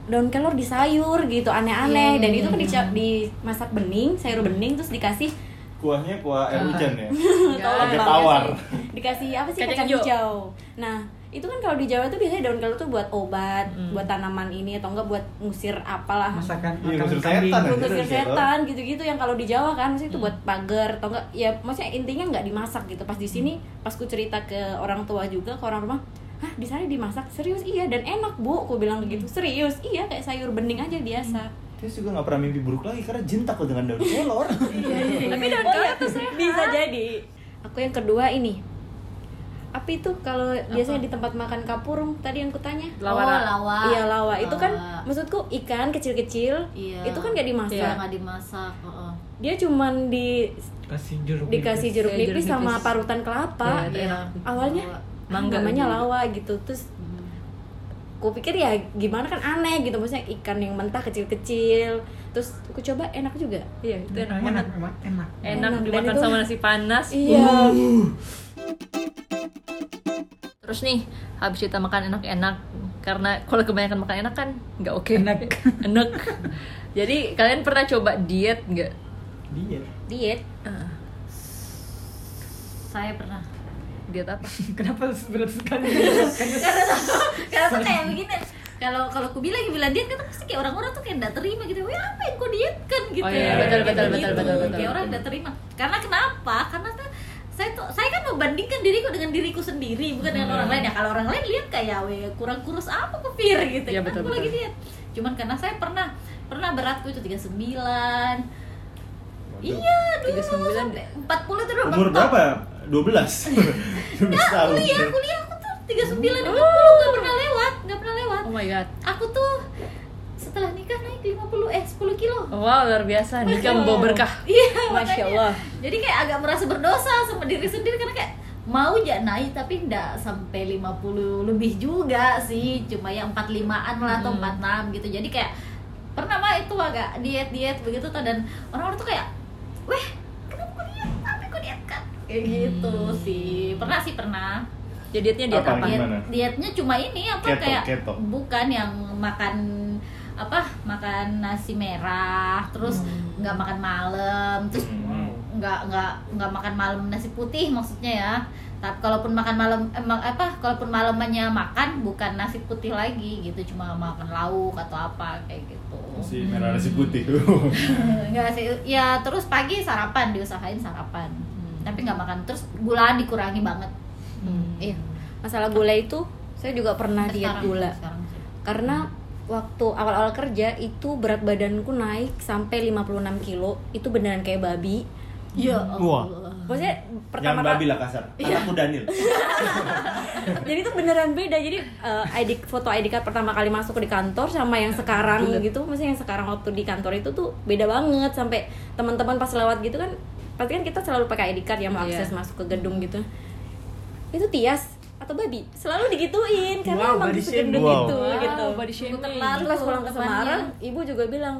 [SPEAKER 5] daun kelor di sayur gitu aneh-aneh
[SPEAKER 2] Iya,
[SPEAKER 5] dan
[SPEAKER 2] iya,
[SPEAKER 5] itu kan
[SPEAKER 2] iya.
[SPEAKER 5] dica- dimasak bening, sayur bening terus dikasih
[SPEAKER 1] Kuahnya kuah air hujan ya.
[SPEAKER 5] Tolong
[SPEAKER 1] Pakai
[SPEAKER 5] Bang,
[SPEAKER 1] tawar.
[SPEAKER 5] kasih- dikasih apa sih
[SPEAKER 4] Kacang
[SPEAKER 5] kacang
[SPEAKER 4] hijau.
[SPEAKER 5] hijau nah itu kan kalau di Jawa tuh biasanya daun kelor tuh buat obat
[SPEAKER 4] Hmm.
[SPEAKER 5] buat tanaman ini atau enggak buat ngusir apalah
[SPEAKER 3] hmm, masakan
[SPEAKER 1] Iya,
[SPEAKER 3] makanan
[SPEAKER 1] ngusir
[SPEAKER 3] kambing.
[SPEAKER 1] setan aja.
[SPEAKER 5] ngusir
[SPEAKER 1] Ngusir
[SPEAKER 5] setan gitu-gitu yang kalau di Jawa kan maksudnya itu buat pagar atau enggak ya maksudnya intinya nggak dimasak gitu pas di sini pas ku cerita ke orang tua juga ke orang rumah Hah, di sana dimasak serius iya dan enak bu aku bilang begitu serius iya kayak sayur bening aja biasa
[SPEAKER 1] Terus juga nggak pernah mimpi buruk lagi karena jin takut dengan daun kelor.
[SPEAKER 4] Tapi daun kelor tuh sehat.
[SPEAKER 5] bisa jadi aku yang kedua ini apa itu kalau biasanya di tempat makan kapurung tadi yang kutanya
[SPEAKER 4] Lawara.
[SPEAKER 2] Oh, lawa.
[SPEAKER 5] Iya lawa itu kan
[SPEAKER 2] Lawa.
[SPEAKER 5] maksudku ikan kecil-kecil
[SPEAKER 2] Iya.
[SPEAKER 5] itu kan gak dimasak
[SPEAKER 2] Iya, nggak dimasak. heeh.
[SPEAKER 5] dia cuman di
[SPEAKER 3] Kasih jeruk.
[SPEAKER 5] dikasih
[SPEAKER 3] nipis.
[SPEAKER 5] jeruk
[SPEAKER 4] Iya, jeruk
[SPEAKER 5] nipis sama
[SPEAKER 4] nipis.
[SPEAKER 5] parutan kelapa
[SPEAKER 4] Iya, itu
[SPEAKER 2] Iya.
[SPEAKER 4] enak.
[SPEAKER 5] awalnya
[SPEAKER 2] Lawa.
[SPEAKER 5] ah,
[SPEAKER 4] Mangga
[SPEAKER 5] namanya
[SPEAKER 4] gitu.
[SPEAKER 5] lawa gitu terus
[SPEAKER 2] Hmm.
[SPEAKER 5] aku pikir ya gimana kan aneh gitu maksudnya ikan yang mentah kecil-kecil terus aku coba enak juga
[SPEAKER 4] Iya, itu enak
[SPEAKER 3] Enak,
[SPEAKER 4] banget.
[SPEAKER 3] enak, emang enak.
[SPEAKER 4] Enak
[SPEAKER 5] Dan
[SPEAKER 4] dimakan
[SPEAKER 5] itu-
[SPEAKER 4] sama nasi panas.
[SPEAKER 5] iya
[SPEAKER 4] Terus nih, habis kita makan enak-enak karena kalau kebanyakan makan enak kan nggak oke.
[SPEAKER 3] Enak.
[SPEAKER 4] enak. Jadi kalian pernah coba diet nggak?
[SPEAKER 1] Iya.
[SPEAKER 3] Dia.
[SPEAKER 5] diet
[SPEAKER 2] Saya pernah.
[SPEAKER 4] Diet apa?
[SPEAKER 3] Kenapa berat sekali?
[SPEAKER 2] Kalau tuh kayak begini. Kalau kalau aku bilang bilang diet kan pasti kayak orang-orang tuh kayak nggak terima gitu. Wah apa yang kau diet kan gitu.
[SPEAKER 4] Oh, iya, betul, betul, betul,
[SPEAKER 2] Gitu.
[SPEAKER 4] betul, betul.
[SPEAKER 2] Kayak orang nggak terima. Karena kenapa? Karena tuh saya tuh saya kan membandingkan diriku dengan diriku sendiri bukan dengan
[SPEAKER 4] Hmm.
[SPEAKER 2] orang lain ya kalau orang lain lihat kayak "Weh, kurang kurus apa kepir gitu
[SPEAKER 4] Iya,
[SPEAKER 2] Kan
[SPEAKER 4] betul,
[SPEAKER 2] aku
[SPEAKER 4] betul.
[SPEAKER 2] lagi diet cuman karena saya pernah pernah beratku itu 39 iya dulu
[SPEAKER 4] 39.
[SPEAKER 2] sampai 40 itu udah
[SPEAKER 1] Umur
[SPEAKER 2] mentok.
[SPEAKER 1] berapa? 12. 12 tahun.
[SPEAKER 2] kuliah kuliah aku tuh 39 50 nggak pernah lewat nggak pernah lewat
[SPEAKER 4] Oh my god.
[SPEAKER 2] aku tuh setelah nikah naik 50 eh 10 kilo
[SPEAKER 4] Wow, luar biasa. Nikah membawa berkah.
[SPEAKER 2] iya
[SPEAKER 5] Oh. Masya
[SPEAKER 2] makanya.
[SPEAKER 5] Allah.
[SPEAKER 2] jadi kayak agak merasa berdosa sama diri sendiri karena kayak mau ya naik tapi nggak sampai 50 lebih juga sih cuma ya 45an lah atau
[SPEAKER 5] Hmm.
[SPEAKER 2] 46 gitu jadi kayak pernah mah itu agak diet-diet begitu tuh dan orang-orang tuh kayak weh kenapa kok diet tapi kok diet kan kayak gitu
[SPEAKER 5] Hmm.
[SPEAKER 2] sih pernah sih pernah
[SPEAKER 4] Ya dietnya diet
[SPEAKER 1] Apa?
[SPEAKER 2] Iya,
[SPEAKER 4] apa?
[SPEAKER 2] Diet-
[SPEAKER 1] Gimana?
[SPEAKER 2] dietnya cuma ini apa
[SPEAKER 1] Keto,
[SPEAKER 2] kayak
[SPEAKER 1] keto.
[SPEAKER 2] bukan yang makan apa makan nasi merah terus nggak makan malam terus
[SPEAKER 1] Hmm.
[SPEAKER 2] nggak nggak nggak makan malam nasi putih maksudnya ya tapi kalaupun makan malam emang apa kalaupun malamannya makan bukan nasi putih lagi gitu cuma makan lauk atau apa kayak gitu
[SPEAKER 1] Si merah nasi putih.
[SPEAKER 2] nggak sih ya terus pagi sarapan diusahain sarapan
[SPEAKER 4] Hmm.
[SPEAKER 2] tapi nggak makan terus gula dikurangi banget
[SPEAKER 4] Hmm.
[SPEAKER 2] iya
[SPEAKER 5] masalah gula itu saya juga pernah Ah, diet
[SPEAKER 2] Sekarang-
[SPEAKER 5] gula
[SPEAKER 2] sekarang sih.
[SPEAKER 5] karena waktu awal-awal kerja itu berat badanku naik sampai 56 kilo itu beneran kayak babi Iya.
[SPEAKER 2] Ya
[SPEAKER 1] Wah.
[SPEAKER 2] Allah.
[SPEAKER 5] maksudnya
[SPEAKER 1] Yang
[SPEAKER 5] pertama
[SPEAKER 1] babi lah kasar. Anakku Daniel.
[SPEAKER 5] jadi itu beneran beda jadi eh, ID foto ID card pertama kali masuk di kantor sama
[SPEAKER 4] Iya,
[SPEAKER 5] yang sekarang gitu maksudnya yang sekarang waktu di kantor itu tuh beda banget sampai teman-teman pas lewat gitu kan pasti kan kita selalu pakai ID card ya mau
[SPEAKER 4] Iya.
[SPEAKER 5] akses masuk ke gedung gitu itu tias atau babi selalu digituin karena
[SPEAKER 3] Wow,
[SPEAKER 5] emang
[SPEAKER 3] body
[SPEAKER 5] segendut
[SPEAKER 1] shaming.
[SPEAKER 5] itu
[SPEAKER 4] Wow,
[SPEAKER 5] gitu
[SPEAKER 4] body shaming.
[SPEAKER 5] terus pas pulang ke
[SPEAKER 2] Temannya.
[SPEAKER 5] Semarang ibu juga bilang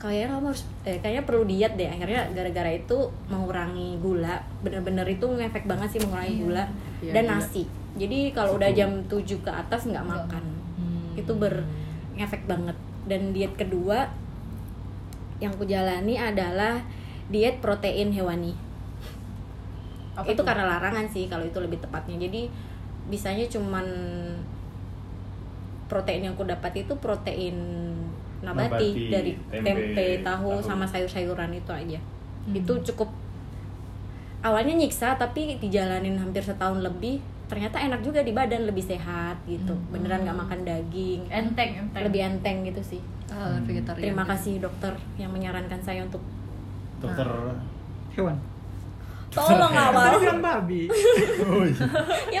[SPEAKER 5] kayaknya kamu harus eh, kayaknya perlu diet deh akhirnya gara-gara itu mengurangi gula bener-bener itu ngefek banget sih mengurangi gula
[SPEAKER 4] Iya,
[SPEAKER 5] dan
[SPEAKER 4] gula.
[SPEAKER 5] nasi jadi kalau udah jam 7 ke atas nggak makan
[SPEAKER 4] Hmm.
[SPEAKER 5] itu ber ngefek banget dan diet kedua yang ku jalani adalah diet protein hewani
[SPEAKER 2] Apa
[SPEAKER 5] itu
[SPEAKER 2] tuh?
[SPEAKER 5] karena larangan sih kalau itu lebih tepatnya jadi bisanya cuman protein yang aku dapat itu protein nabati,
[SPEAKER 1] Nabati,
[SPEAKER 5] dari
[SPEAKER 1] tempe,
[SPEAKER 5] tempe, tahu,
[SPEAKER 1] tahu.
[SPEAKER 5] sama sayur-sayuran itu aja.
[SPEAKER 4] Hmm.
[SPEAKER 5] Itu cukup awalnya nyiksa tapi dijalanin hampir setahun lebih ternyata enak juga di badan lebih sehat gitu beneran nggak makan daging eh,
[SPEAKER 2] enteng enteng
[SPEAKER 5] lebih enteng gitu sih
[SPEAKER 4] Ah, vegetarian.
[SPEAKER 5] terima kasih dokter yang menyarankan saya untuk
[SPEAKER 1] dokter
[SPEAKER 3] hewan
[SPEAKER 5] tolong awal
[SPEAKER 3] bukan babi
[SPEAKER 1] oh, iya.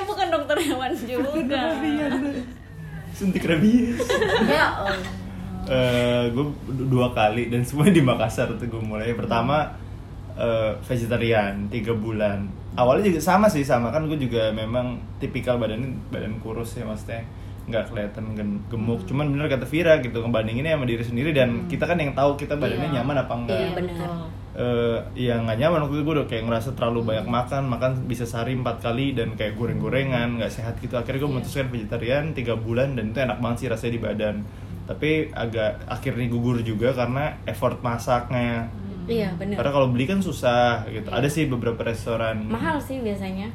[SPEAKER 5] ya bukan dokter hewan juga
[SPEAKER 1] suntik rabies
[SPEAKER 2] ya oh.
[SPEAKER 1] gue Eh, dua kali dan semua di Makassar tuh gue mulai pertama eh, vegetarian tiga bulan awalnya juga sama sih sama kan gue juga memang tipikal badan badan kurus ya maksudnya nggak kelihatan gen- gemuk cuman bener kata Vira gitu ngebandinginnya sama diri sendiri dan kita kan yang tahu kita badannya
[SPEAKER 2] Iya.
[SPEAKER 1] nyaman apa enggak
[SPEAKER 5] Iya, benar.
[SPEAKER 1] eh yang nggak nyaman waktu itu gue udah kayak ngerasa terlalu banyak makan makan bisa sehari empat kali dan kayak goreng-gorengan nggak sehat gitu akhirnya gue memutuskan vegetarian tiga bulan dan itu enak banget sih rasanya di badan tapi agak akhirnya gugur juga karena effort masaknya
[SPEAKER 2] Hmm.
[SPEAKER 5] iya
[SPEAKER 1] karena
[SPEAKER 5] bener
[SPEAKER 1] kalau beli kan susah gitu ada sih beberapa restoran
[SPEAKER 5] mahal sih biasanya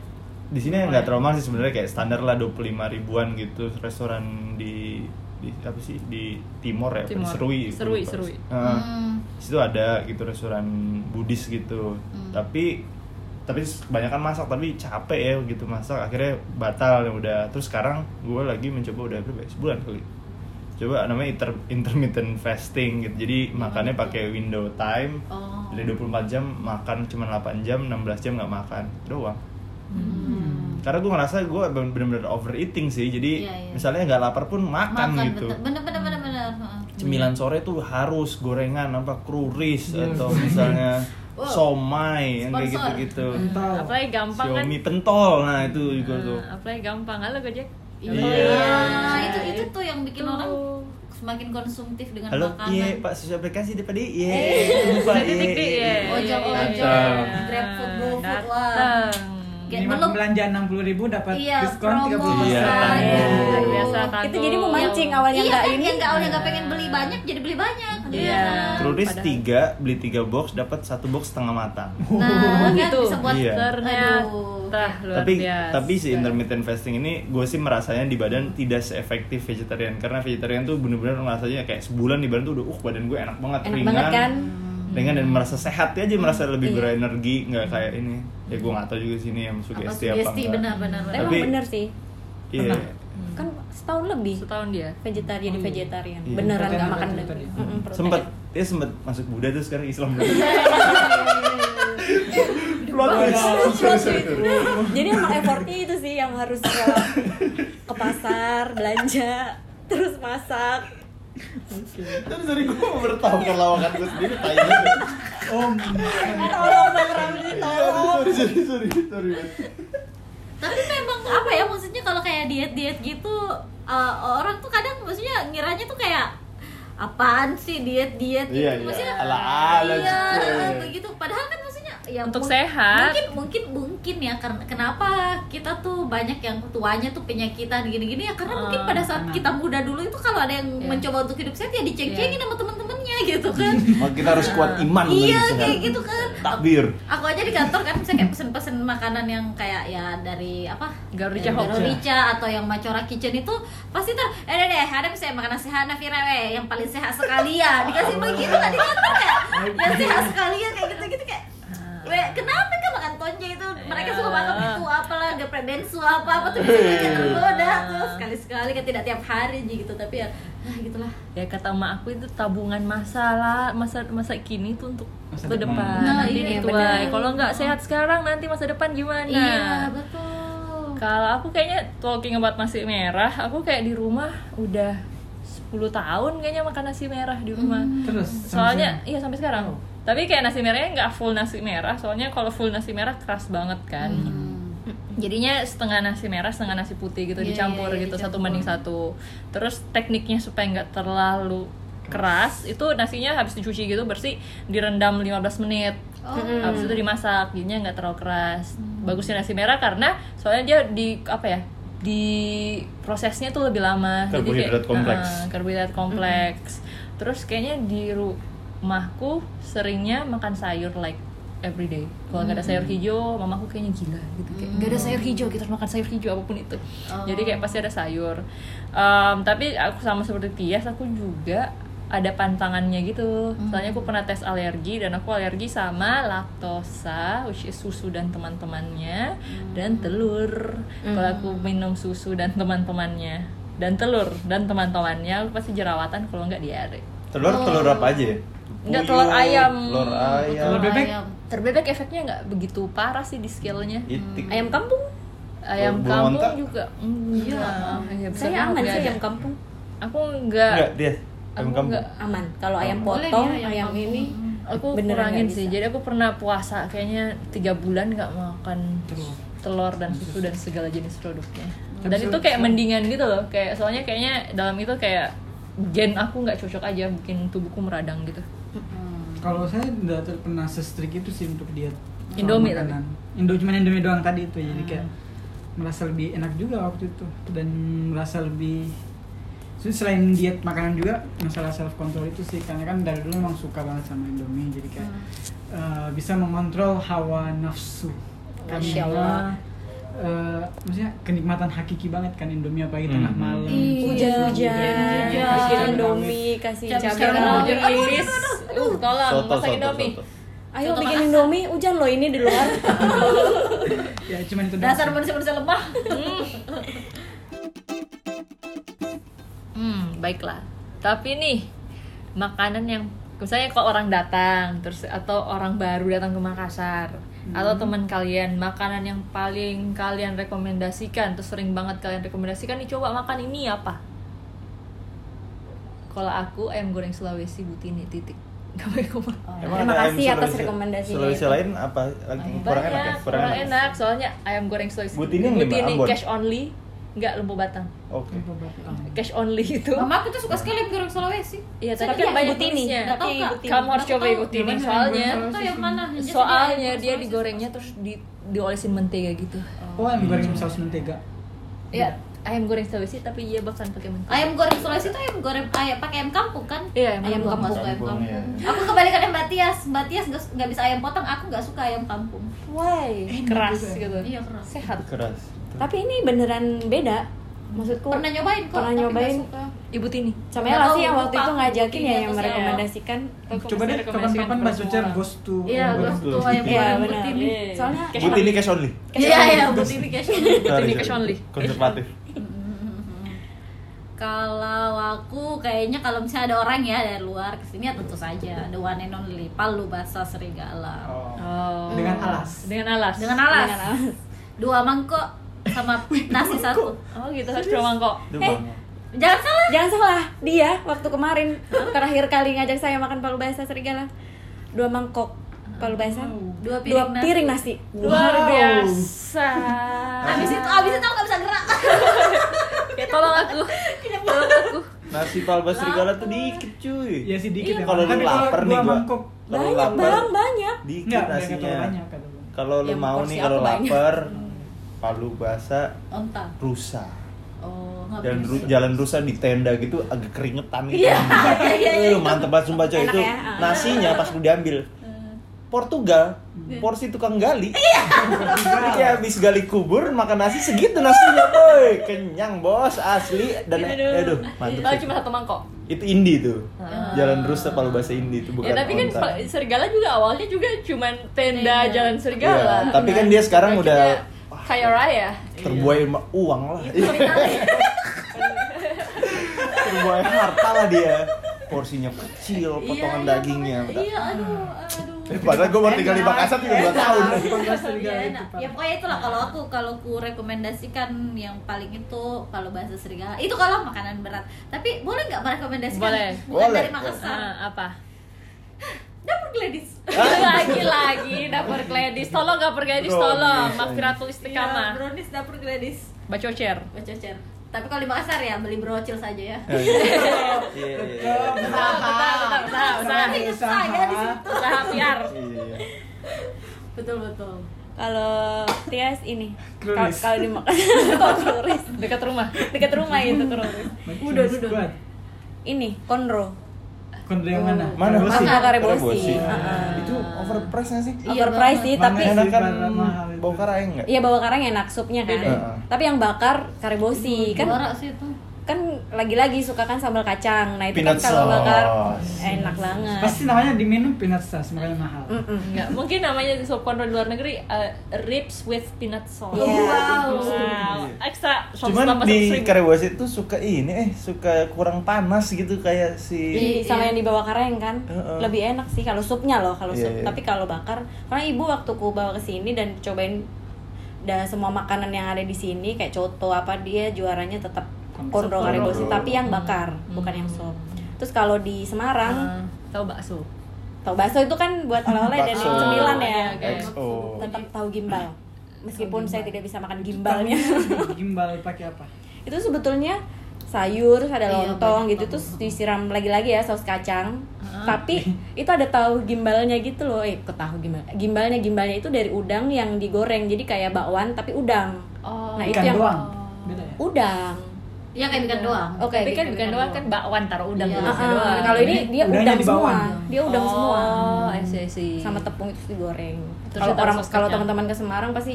[SPEAKER 1] di sini nggak terlalu mahal sih sebenarnya kayak standar lah 25 ribuan gitu restoran di di apa sih di timor ya apa di
[SPEAKER 4] Timor.
[SPEAKER 1] serui
[SPEAKER 4] Serui,
[SPEAKER 1] lupa.
[SPEAKER 4] Serui.
[SPEAKER 1] Heeh.
[SPEAKER 2] Hmm.
[SPEAKER 1] Di situ ada gitu restoran Buddhis gitu
[SPEAKER 2] Hmm.
[SPEAKER 1] tapi tapi kebanyakan masak tapi capek ya gitu masak akhirnya batal ya udah terus sekarang gue lagi mencoba udah berapa ya? sebulan kali coba namanya inter- intermittent fasting gitu jadi makannya pakai window time
[SPEAKER 2] Hmm. Oh.
[SPEAKER 1] dari 24 jam makan cuma 8 jam 16 jam nggak makan doang
[SPEAKER 2] Hmm.
[SPEAKER 1] karena gue ngerasa gue bener-bener overeating sih jadi
[SPEAKER 2] Iya, iya.
[SPEAKER 1] misalnya nggak lapar pun makan,
[SPEAKER 2] makan
[SPEAKER 1] gitu
[SPEAKER 2] bener bener bener bener, bener. Heeh.
[SPEAKER 1] cemilan sore tuh harus gorengan apa kruris atau misalnya
[SPEAKER 2] Wow.
[SPEAKER 1] somai yang kayak
[SPEAKER 2] Sponsor.
[SPEAKER 1] gitu gitu
[SPEAKER 3] Entah.
[SPEAKER 4] Apalagi gampang kan?
[SPEAKER 1] Xiaomi pentol nah itu juga tuh
[SPEAKER 4] Ah, Apalagi gampang kan lo Gojek?
[SPEAKER 1] Iya.
[SPEAKER 2] Nah, Oh, itu itu tuh yang bikin
[SPEAKER 4] Tuh.
[SPEAKER 2] orang semakin konsumtif dengan
[SPEAKER 1] halo
[SPEAKER 2] makanan
[SPEAKER 1] iya pak susu aplikasi daripada iya lupa
[SPEAKER 4] Jadi dik dik ya.
[SPEAKER 2] Ojek,
[SPEAKER 1] ojek,
[SPEAKER 4] iya.
[SPEAKER 2] GrabFood, GoFood,
[SPEAKER 4] Datang.
[SPEAKER 2] wah. Kayak
[SPEAKER 3] Minimal
[SPEAKER 2] belum-
[SPEAKER 3] belanja enam puluh ribu dapat
[SPEAKER 2] Iya,
[SPEAKER 3] diskon
[SPEAKER 2] promo,
[SPEAKER 3] tiga
[SPEAKER 1] Iya,
[SPEAKER 2] iya.
[SPEAKER 1] tangguh.
[SPEAKER 4] Biasa tangguh.
[SPEAKER 5] itu jadi memancing awalnya
[SPEAKER 2] iya
[SPEAKER 5] nggak
[SPEAKER 2] kan
[SPEAKER 5] ini
[SPEAKER 2] yang nggak awalnya nggak pengen beli banyak jadi beli banyak kan?
[SPEAKER 4] Iya.
[SPEAKER 1] kruris
[SPEAKER 4] Padahal-
[SPEAKER 1] tiga beli tiga box dapat satu box setengah matang
[SPEAKER 2] nah
[SPEAKER 4] Oh,
[SPEAKER 2] kan
[SPEAKER 4] gitu.
[SPEAKER 2] bisa buat
[SPEAKER 1] Iya.
[SPEAKER 4] Ternyata luar
[SPEAKER 1] tapi
[SPEAKER 4] biasa.
[SPEAKER 1] tapi si intermittent fasting ini gue sih merasanya di badan tidak seefektif vegetarian karena vegetarian tuh bener-bener rasanya kayak sebulan di badan tuh udah uh badan gue enak banget
[SPEAKER 5] Enak
[SPEAKER 1] ringan
[SPEAKER 5] banget kan?
[SPEAKER 1] ringan dan merasa sehat aja merasa lebih
[SPEAKER 5] Iya.
[SPEAKER 1] berenergi nggak kayak ini ya gue nggak tahu juga sini yang
[SPEAKER 2] apa
[SPEAKER 1] sugesti apa,
[SPEAKER 2] sugesti
[SPEAKER 1] enggak.
[SPEAKER 2] benar-benar
[SPEAKER 5] Tapi emang
[SPEAKER 1] Tapi-
[SPEAKER 5] bener sih
[SPEAKER 1] iya
[SPEAKER 5] kan setahun lebih
[SPEAKER 4] setahun dia.
[SPEAKER 5] vegetarian jadi vegetarian
[SPEAKER 1] Iya.
[SPEAKER 5] beneran nggak
[SPEAKER 3] Protein,
[SPEAKER 5] makan
[SPEAKER 3] protein,
[SPEAKER 5] daging
[SPEAKER 3] protein.
[SPEAKER 5] Mm-mm, protein.
[SPEAKER 1] sempet dia sempet masuk Buddha terus sekarang Islam
[SPEAKER 2] Hmm.
[SPEAKER 1] Plot twist. Sorry, sorry, sorry.
[SPEAKER 5] jadi emang effortnya itu sih yang harus rela ke pasar belanja terus masak
[SPEAKER 1] Sorry, sorry, gue mau bertahu lawakan gue sendiri tanya
[SPEAKER 3] Om,
[SPEAKER 5] tolong bang Ramzi tolong
[SPEAKER 1] sorry sorry sorry sorry
[SPEAKER 2] tapi memang apa ya maksudnya kalau kayak diet diet gitu eh, orang tuh kadang maksudnya ngiranya tuh kayak apaan sih diet diet gitu
[SPEAKER 1] Iya, iya.
[SPEAKER 2] maksudnya
[SPEAKER 1] Ala-ala
[SPEAKER 2] iya
[SPEAKER 1] gitu.
[SPEAKER 2] eh, begitu padahal kan maksudnya ya
[SPEAKER 4] Untuk
[SPEAKER 2] mung-
[SPEAKER 4] sehat.
[SPEAKER 2] mungkin mungkin mungkin ya karena kenapa kita tuh banyak yang tuanya tuh penyakitan gini-gini ya karena mungkin pada saat
[SPEAKER 4] Ah.
[SPEAKER 3] karena-
[SPEAKER 2] kita muda dulu itu kalau ada
[SPEAKER 4] Iya.
[SPEAKER 2] yang mencoba untuk hidup sehat ya diceng-cengin sama temen-temennya gitu kan
[SPEAKER 1] Maka kita harus kuat iman
[SPEAKER 2] iya
[SPEAKER 1] dan
[SPEAKER 2] kayak
[SPEAKER 1] sehat.
[SPEAKER 2] gitu kan
[SPEAKER 1] takbir
[SPEAKER 2] aku aja di kantor kan bisa kayak pesen-pesen makanan yang kayak ya dari apa
[SPEAKER 4] Garuda Hoka.
[SPEAKER 2] Garuda atau yang Macora Kitchen itu pasti tuh eh deh deh ada bisa makanan sehat Nafira we yang paling sehat sekali ya dikasih begitu kan di kantor ya yang sehat sekali ya kayak gitu gitu kayak we kenapa kan makan tonje itu mereka suka makan itu apalah geprek bensu apa apa tuh bisa kayak tergoda tuh sekali sekali kan tidak tiap hari gitu tapi ya ah, gitulah
[SPEAKER 4] Ya kata emak aku itu tabungan masalah masa masa kini tuh untuk
[SPEAKER 3] Masa
[SPEAKER 4] masa depan.
[SPEAKER 3] depan.
[SPEAKER 2] Nah,
[SPEAKER 4] nanti
[SPEAKER 2] iya,
[SPEAKER 4] ditua.
[SPEAKER 2] benar.
[SPEAKER 4] Kalau nggak sehat sekarang nanti masa depan gimana?
[SPEAKER 2] iya betul
[SPEAKER 4] Kalau aku kayaknya talking about nasi merah, aku kayak di rumah udah 10 tahun kayaknya makan nasi merah di rumah.
[SPEAKER 3] terus
[SPEAKER 4] Soalnya
[SPEAKER 3] sampai-
[SPEAKER 4] iya sampai sekarang. Tapi kayak nasi merahnya nggak full nasi merah, soalnya kalau full nasi merah keras banget kan.
[SPEAKER 2] Hmm.
[SPEAKER 4] Jadinya setengah nasi merah, setengah nasi putih gitu
[SPEAKER 2] Iya,
[SPEAKER 4] dicampur
[SPEAKER 2] iya, iya,
[SPEAKER 4] gitu satu
[SPEAKER 2] dicampur.
[SPEAKER 4] banding satu. Terus tekniknya supaya nggak terlalu keras, itu nasinya habis dicuci gitu bersih direndam 15 menit
[SPEAKER 2] Oh. Hmm.
[SPEAKER 4] habis itu dimasak jadinya nggak terlalu keras bagusnya nasi merah karena soalnya dia di apa ya di prosesnya tuh lebih lama Jadi
[SPEAKER 1] Karbohidrat kompleks.
[SPEAKER 4] eh, karbohidrat kompleks terus kayaknya di rumahku seringnya makan sayur like everyday kalau nggak ada sayur hijau mamaku kayaknya gila gitu kayak nggak ada sayur hijau kita harus makan sayur hijau apapun itu
[SPEAKER 2] Oh.
[SPEAKER 4] jadi kayak pasti ada sayur Em, tapi aku sama seperti Tias aku juga ada pantangannya gitu
[SPEAKER 5] Hmm.
[SPEAKER 4] soalnya aku pernah tes alergi dan aku alergi sama laktosa which is susu dan teman-temannya
[SPEAKER 5] Hmm.
[SPEAKER 4] dan telur kalau aku minum susu dan teman-temannya dan telur dan teman-temannya aku pasti jerawatan kalau nggak diare
[SPEAKER 1] Telur telur apa aja? ya?
[SPEAKER 4] Nggak,
[SPEAKER 1] Puyuh,
[SPEAKER 4] telur ayam.
[SPEAKER 1] Telur ayam.
[SPEAKER 3] Telur bebek.
[SPEAKER 2] Ayam.
[SPEAKER 4] terbebek efeknya nggak begitu parah sih di scale-nya
[SPEAKER 1] Itik.
[SPEAKER 5] ayam kampung
[SPEAKER 4] ayam
[SPEAKER 1] Belum
[SPEAKER 4] kampung
[SPEAKER 1] ngontak?
[SPEAKER 4] juga iya
[SPEAKER 5] saya aman sih ayam kampung
[SPEAKER 4] aku nggak
[SPEAKER 1] Enggak, dia. Ayam
[SPEAKER 4] Aku
[SPEAKER 1] kamu.
[SPEAKER 4] nggak.
[SPEAKER 5] aman kalau ayam
[SPEAKER 2] Boleh
[SPEAKER 5] potong
[SPEAKER 2] dia,
[SPEAKER 5] ayam,
[SPEAKER 2] ayam kampung.
[SPEAKER 5] ini
[SPEAKER 4] aku
[SPEAKER 5] Beneran
[SPEAKER 4] kurangin
[SPEAKER 5] nggak
[SPEAKER 4] sih
[SPEAKER 5] bisa.
[SPEAKER 4] jadi aku pernah puasa kayaknya tiga bulan nggak makan telur dan susu dan segala jenis produknya dan
[SPEAKER 3] Tapi
[SPEAKER 4] itu kayak mendingan gitu loh kayak soalnya kayaknya dalam itu kayak gen aku nggak cocok aja bikin tubuhku meradang gitu
[SPEAKER 2] Hmm.
[SPEAKER 3] Kalau saya nggak ter- pernah se-strict itu sih untuk diet. Soal
[SPEAKER 4] Indomie
[SPEAKER 3] makanan. Indo cuman Indomie doang tadi itu jadi kayak merasa lebih enak juga waktu itu dan merasa lebih so, selain diet makanan juga masalah self control itu sih karena kan dari dulu emang suka banget sama Indomie jadi kayak eh, bisa mengontrol hawa nafsu
[SPEAKER 5] Masya Allah.
[SPEAKER 3] eh, maksudnya kenikmatan hakiki banget kan Indomie apalagi tengah
[SPEAKER 1] Hmm.
[SPEAKER 3] malam
[SPEAKER 2] Iya.
[SPEAKER 5] hujan-hujan
[SPEAKER 2] Hujan.
[SPEAKER 5] kasih indomie kasih
[SPEAKER 2] Jam
[SPEAKER 5] cabai
[SPEAKER 2] sekarang
[SPEAKER 5] rawit.
[SPEAKER 2] hujan.
[SPEAKER 5] Aduh,
[SPEAKER 4] Inggris uh tolong
[SPEAKER 1] Soto,
[SPEAKER 4] masak
[SPEAKER 1] soto,
[SPEAKER 4] indomie
[SPEAKER 1] soto.
[SPEAKER 5] ayo
[SPEAKER 2] Contoh
[SPEAKER 5] bikin
[SPEAKER 2] masak.
[SPEAKER 5] indomie hujan loh ini di luar
[SPEAKER 3] ya cuman itu doang
[SPEAKER 2] Dasar
[SPEAKER 3] sih.
[SPEAKER 2] manusia-manusia lemah.
[SPEAKER 4] Hmm, baiklah. Tapi nih makanan yang misalnya kalau orang datang terus atau orang baru datang ke Makassar
[SPEAKER 1] Hmm.
[SPEAKER 4] atau teman kalian makanan yang paling kalian rekomendasikan terus sering banget kalian rekomendasikan nih coba makan ini apa? Kalau aku ayam goreng Sulawesi butini titik. Gak baik ngomong.
[SPEAKER 5] Terima
[SPEAKER 1] ada ayam
[SPEAKER 5] kasih atas
[SPEAKER 1] Sulawesi-
[SPEAKER 5] rekomendasinya
[SPEAKER 1] Sulawesi
[SPEAKER 5] itu.
[SPEAKER 1] lain apa? Lagi kurang enak ya?
[SPEAKER 4] Banyak, kurang enak. Soalnya ayam goreng Sulawesi
[SPEAKER 1] Butini yang di Ambon?
[SPEAKER 4] cash only, nggak lembu batang.
[SPEAKER 1] Oke.
[SPEAKER 4] Cash only itu.
[SPEAKER 2] Mama aku tuh suka sekali goreng Sulawesi.
[SPEAKER 4] Iya,
[SPEAKER 2] Saya
[SPEAKER 4] tapi kan
[SPEAKER 2] juga
[SPEAKER 4] banyak
[SPEAKER 2] tahu.
[SPEAKER 5] Butini.
[SPEAKER 4] jenisnya.
[SPEAKER 2] Nggak tahu,
[SPEAKER 5] Tapi
[SPEAKER 2] Kak.
[SPEAKER 5] Butini.
[SPEAKER 4] Kamu harus
[SPEAKER 2] Nggak
[SPEAKER 4] coba
[SPEAKER 2] tahu.
[SPEAKER 4] ikut ini
[SPEAKER 3] Gimana
[SPEAKER 4] soalnya
[SPEAKER 3] yang
[SPEAKER 2] Tahu yang mana? Jadi
[SPEAKER 4] soalnya
[SPEAKER 2] ayam
[SPEAKER 4] Iya dia
[SPEAKER 2] Sulawesi.
[SPEAKER 4] digorengnya terus di diolesin mentega gitu.
[SPEAKER 3] oh ayam goreng saus mentega
[SPEAKER 4] Ya ayam goreng Sulawesi tapi dia bahkan pakai mentega.
[SPEAKER 2] Ayam goreng Sulawesi tuh ayam goreng ayam pakai ayam kampung kan?
[SPEAKER 4] Iya, ayam
[SPEAKER 2] ayam
[SPEAKER 4] kampung.
[SPEAKER 2] kampung. Ayam
[SPEAKER 1] Kampung,
[SPEAKER 2] kampung.
[SPEAKER 1] iya.
[SPEAKER 2] Aku kebalikannya Mbak Tias. Mbak Tias nggak- nggak bisa ayam potong, aku nggak suka ayam kampung.
[SPEAKER 5] why
[SPEAKER 4] keras gitu.
[SPEAKER 2] Iya, keras.
[SPEAKER 4] Sehat.
[SPEAKER 1] Keras.
[SPEAKER 5] Eh, tapi ini beneran beda maksudku
[SPEAKER 2] Pernah nyobain kok?
[SPEAKER 5] pernah
[SPEAKER 2] tapi nggak
[SPEAKER 5] nyobain
[SPEAKER 2] suka.
[SPEAKER 4] Ibu Tini.
[SPEAKER 5] sama
[SPEAKER 2] Nggak
[SPEAKER 5] Ella
[SPEAKER 2] tahu,
[SPEAKER 5] sih yang
[SPEAKER 2] lupa Iya,
[SPEAKER 5] waktu itu
[SPEAKER 2] aku
[SPEAKER 5] ngajakin ya
[SPEAKER 2] buktinya
[SPEAKER 5] yang
[SPEAKER 2] atau saya.
[SPEAKER 5] merekomendasikan
[SPEAKER 3] coba deh kapan-kapan
[SPEAKER 4] kan
[SPEAKER 3] Mbak Sucer goes to
[SPEAKER 2] Iya,
[SPEAKER 3] ayam goreng
[SPEAKER 2] terus tuh
[SPEAKER 1] Butini.
[SPEAKER 2] ayam
[SPEAKER 5] Iya
[SPEAKER 2] goreng
[SPEAKER 5] benar
[SPEAKER 2] butini.
[SPEAKER 5] soalnya
[SPEAKER 4] Cash
[SPEAKER 1] But ini cash only.
[SPEAKER 2] Iya, iya, butini cash.
[SPEAKER 1] Sorry,
[SPEAKER 4] cash
[SPEAKER 1] sorry.
[SPEAKER 4] only.
[SPEAKER 1] Konservatif.
[SPEAKER 2] Kalau aku kayaknya kalau misalnya ada orang ya dari luar kesini ya tentu saja the one and only Palu Basa Serigala
[SPEAKER 3] Oh.
[SPEAKER 4] Oh.
[SPEAKER 3] Dengan alas.
[SPEAKER 4] Dengan alas.
[SPEAKER 2] dengan alas
[SPEAKER 5] Dengan alas.
[SPEAKER 2] dua mangkok sama nasi satu.
[SPEAKER 4] Oh gitu harus coba mangkok.
[SPEAKER 1] Duh,
[SPEAKER 5] Eh.
[SPEAKER 1] Bang.
[SPEAKER 2] Jangan salah.
[SPEAKER 5] Jangan salah, dia waktu kemarin terakhir kali ngajak saya makan palu basah serigala dua mangkok palu basah,
[SPEAKER 2] Dua Hmm. piring
[SPEAKER 5] dua
[SPEAKER 2] nasi.
[SPEAKER 5] piring nasi.
[SPEAKER 4] Luar biasa.
[SPEAKER 2] Abis itu abis itu aku nggak bisa gerak.
[SPEAKER 4] Ya tolong aku. Tolong aku.
[SPEAKER 1] Nasi palba serigala tuh dikit cuy.
[SPEAKER 3] Iya sih, dikit Iya, ya.
[SPEAKER 1] Kalau lu
[SPEAKER 3] Tapi kalau
[SPEAKER 1] lapar
[SPEAKER 3] dua
[SPEAKER 1] nih gua.
[SPEAKER 3] mangkok.
[SPEAKER 1] Kalau
[SPEAKER 5] Banyak
[SPEAKER 1] lapar,
[SPEAKER 5] bang banyak.
[SPEAKER 1] Dikit
[SPEAKER 3] Enggak, enggak terlalu
[SPEAKER 1] nasinya.
[SPEAKER 3] banyak kata lu.
[SPEAKER 1] Kalau lu
[SPEAKER 5] Yang
[SPEAKER 1] mau
[SPEAKER 5] porsi
[SPEAKER 1] nih
[SPEAKER 5] aku
[SPEAKER 1] kalau
[SPEAKER 5] banyak. Hmm.
[SPEAKER 1] lapar palu basah
[SPEAKER 2] Onta.
[SPEAKER 1] rusa.
[SPEAKER 2] Oh nggak
[SPEAKER 1] Jalan,
[SPEAKER 2] bisa.
[SPEAKER 1] ru- jalan rusa di tenda gitu agak keringetan gitu.
[SPEAKER 2] Iya, iya, iya, iya.
[SPEAKER 1] Eh, mantep banget sumpah coy
[SPEAKER 5] Enak
[SPEAKER 1] itu.
[SPEAKER 5] ya, ah.
[SPEAKER 1] Nasinya pas lu diambil. Portugal, porsi tukang gali. Jadi
[SPEAKER 3] Iya,
[SPEAKER 1] kayak habis gali kubur makan nasi segitu nasinya, boy. Kenyang, Bos, asli dan aduh, mantep.
[SPEAKER 4] Kalau
[SPEAKER 1] sih.
[SPEAKER 4] cuma satu mangkok.
[SPEAKER 1] Itu indie tuh. Jalan rusa palu bahasa indie itu bukan.
[SPEAKER 4] Ya tapi kan
[SPEAKER 1] onta. Iya,
[SPEAKER 4] pa- serigala juga awalnya juga cuman tenda
[SPEAKER 2] Tenda.
[SPEAKER 4] jalan serigala. Nah,
[SPEAKER 1] Iya, tapi kan dia sekarang udah-
[SPEAKER 4] Akhirnya kaya raya.
[SPEAKER 1] terbuai ma- uang lah. terbuai harta lah dia. Porsinya kecil, potongan dagingnya. enggak.
[SPEAKER 2] Iya aduh aduh.
[SPEAKER 1] Eh, padahal gue baru tinggal di Makassar tiga dua tahun.
[SPEAKER 3] Palu basah
[SPEAKER 2] Iya,
[SPEAKER 3] serigala itu,
[SPEAKER 2] enak.
[SPEAKER 3] Pak.
[SPEAKER 2] ya pokoknya itulah kalau aku kalau ku rekomendasikan yang paling itu kalau bahasa serigala itu kalau makanan berat tapi boleh nggak merekomendasikan
[SPEAKER 4] Boleh.
[SPEAKER 2] bukan
[SPEAKER 1] Boleh.
[SPEAKER 2] dari Makassar
[SPEAKER 4] Ah, apa?
[SPEAKER 2] dapur gladis
[SPEAKER 4] lagi lagi dapur gladis tolong dapur gladis
[SPEAKER 1] Bro,
[SPEAKER 4] tolong
[SPEAKER 1] iya.
[SPEAKER 4] mafiratul
[SPEAKER 2] Iya,
[SPEAKER 4] istiqamah
[SPEAKER 2] brownies dapur gladis
[SPEAKER 4] bacocer
[SPEAKER 2] Bacocer. tapi kalau di Makassar ya beli brocil saja ya
[SPEAKER 1] Eh, Iya, iya,
[SPEAKER 3] Tetep.
[SPEAKER 4] usaha usaha usaha usaha usaha
[SPEAKER 2] Tapi
[SPEAKER 3] usaha.
[SPEAKER 2] saya di situ
[SPEAKER 4] usaha PR
[SPEAKER 1] iya, iya.
[SPEAKER 2] betul betul
[SPEAKER 5] Kalau Tias ini
[SPEAKER 3] Krulis.
[SPEAKER 5] kalau di kalau krulis
[SPEAKER 4] dekat rumah
[SPEAKER 5] dekat rumah itu krulis.
[SPEAKER 3] Bagus
[SPEAKER 5] Udah, udah.
[SPEAKER 3] banget.
[SPEAKER 5] Ini konro.
[SPEAKER 3] Kondre yang mana? Iya.
[SPEAKER 1] Mana
[SPEAKER 5] Mas
[SPEAKER 1] besi?
[SPEAKER 5] Makare Bosi.
[SPEAKER 1] Bosi.
[SPEAKER 5] Ah.
[SPEAKER 1] Itu overpriced nggak sih?
[SPEAKER 2] Iya
[SPEAKER 5] overpriced sih
[SPEAKER 3] Mana
[SPEAKER 5] tapi
[SPEAKER 3] yang-
[SPEAKER 1] Enakan
[SPEAKER 3] Mahal, Iya, mahal itu.
[SPEAKER 1] bau karaeng nggak?
[SPEAKER 5] iya bawa karang enak supnya kan
[SPEAKER 1] Beda.
[SPEAKER 5] tapi yang bakar karebosi kan
[SPEAKER 2] Iya, Juara sih itu.
[SPEAKER 5] kan lagi-lagi suka kan sambal kacang nah itu
[SPEAKER 1] Peanut
[SPEAKER 5] kan kalau
[SPEAKER 1] sauce.
[SPEAKER 5] bakar enak banget
[SPEAKER 3] Pasti namanya diminum peanut sauce makanya mahal.
[SPEAKER 5] Mm-mm.
[SPEAKER 4] Enggak, mungkin namanya di sop konro di luar negeri eh, ribs with peanut sauce.
[SPEAKER 5] Iya.
[SPEAKER 4] Wow. Ekstra
[SPEAKER 1] Cuman di Karebosi itu suka ini eh suka kurang panas gitu kayak si
[SPEAKER 5] Di- sama yang dibawa kareng kan
[SPEAKER 1] Heeh.
[SPEAKER 5] lebih enak sih kalau supnya loh kalau
[SPEAKER 1] Iya,
[SPEAKER 5] sup
[SPEAKER 1] iya.
[SPEAKER 5] tapi kalau bakar karena ibu waktu ku bawa ke sini dan cobain dan semua makanan yang ada di sini kayak coto apa dia juaranya tetap konro
[SPEAKER 3] Konro.
[SPEAKER 5] karebosi tapi
[SPEAKER 4] Hmm.
[SPEAKER 5] yang bakar bukan yang sup terus kalau di
[SPEAKER 4] Hmm.
[SPEAKER 5] Semarang
[SPEAKER 4] Eh, tahu bakso.
[SPEAKER 5] tau bakso itu kan buat oleh-oleh dan
[SPEAKER 1] Bakso.
[SPEAKER 5] cemilan ya
[SPEAKER 4] Iya, kayak
[SPEAKER 1] XO.
[SPEAKER 5] tetap tahu gimbal meskipun saya tidak bisa makan gimbalnya
[SPEAKER 3] Gimbal pakai apa?
[SPEAKER 5] itu sebetulnya sayur terus ada
[SPEAKER 2] Iya,
[SPEAKER 5] lontong
[SPEAKER 2] banyak
[SPEAKER 5] gitu
[SPEAKER 2] banget.
[SPEAKER 5] terus disiram lagi-lagi ya saus kacang tapi itu ada tahu gimbalnya gitu loh eh ke tahu gimbal gimbalnya gimbalnya itu dari udang yang digoreng jadi kayak bakwan tapi udang
[SPEAKER 4] Oh.
[SPEAKER 5] Nah, itu
[SPEAKER 3] Ikan
[SPEAKER 5] yang-
[SPEAKER 3] doang. Beda ya?
[SPEAKER 5] udang
[SPEAKER 2] Iya kayak ikan doang.
[SPEAKER 5] Oke,
[SPEAKER 4] Tapi kan
[SPEAKER 5] gitu.
[SPEAKER 4] bukan doang kan bakwan taruh udang
[SPEAKER 2] Iya.
[SPEAKER 4] gitu,
[SPEAKER 5] Ah,
[SPEAKER 4] bisa
[SPEAKER 5] ah.
[SPEAKER 4] doang.
[SPEAKER 5] kalau ini dia
[SPEAKER 3] Udangnya
[SPEAKER 5] udang
[SPEAKER 3] di
[SPEAKER 5] semua
[SPEAKER 3] bawah.
[SPEAKER 5] dia udang
[SPEAKER 4] Oh,
[SPEAKER 5] semua
[SPEAKER 4] I see, I see.
[SPEAKER 5] sama tepung itu digoreng
[SPEAKER 4] Terus
[SPEAKER 5] kalau
[SPEAKER 4] ditaruh
[SPEAKER 5] orang
[SPEAKER 4] saus
[SPEAKER 5] kalau
[SPEAKER 4] kacang.
[SPEAKER 5] teman-teman ke Semarang pasti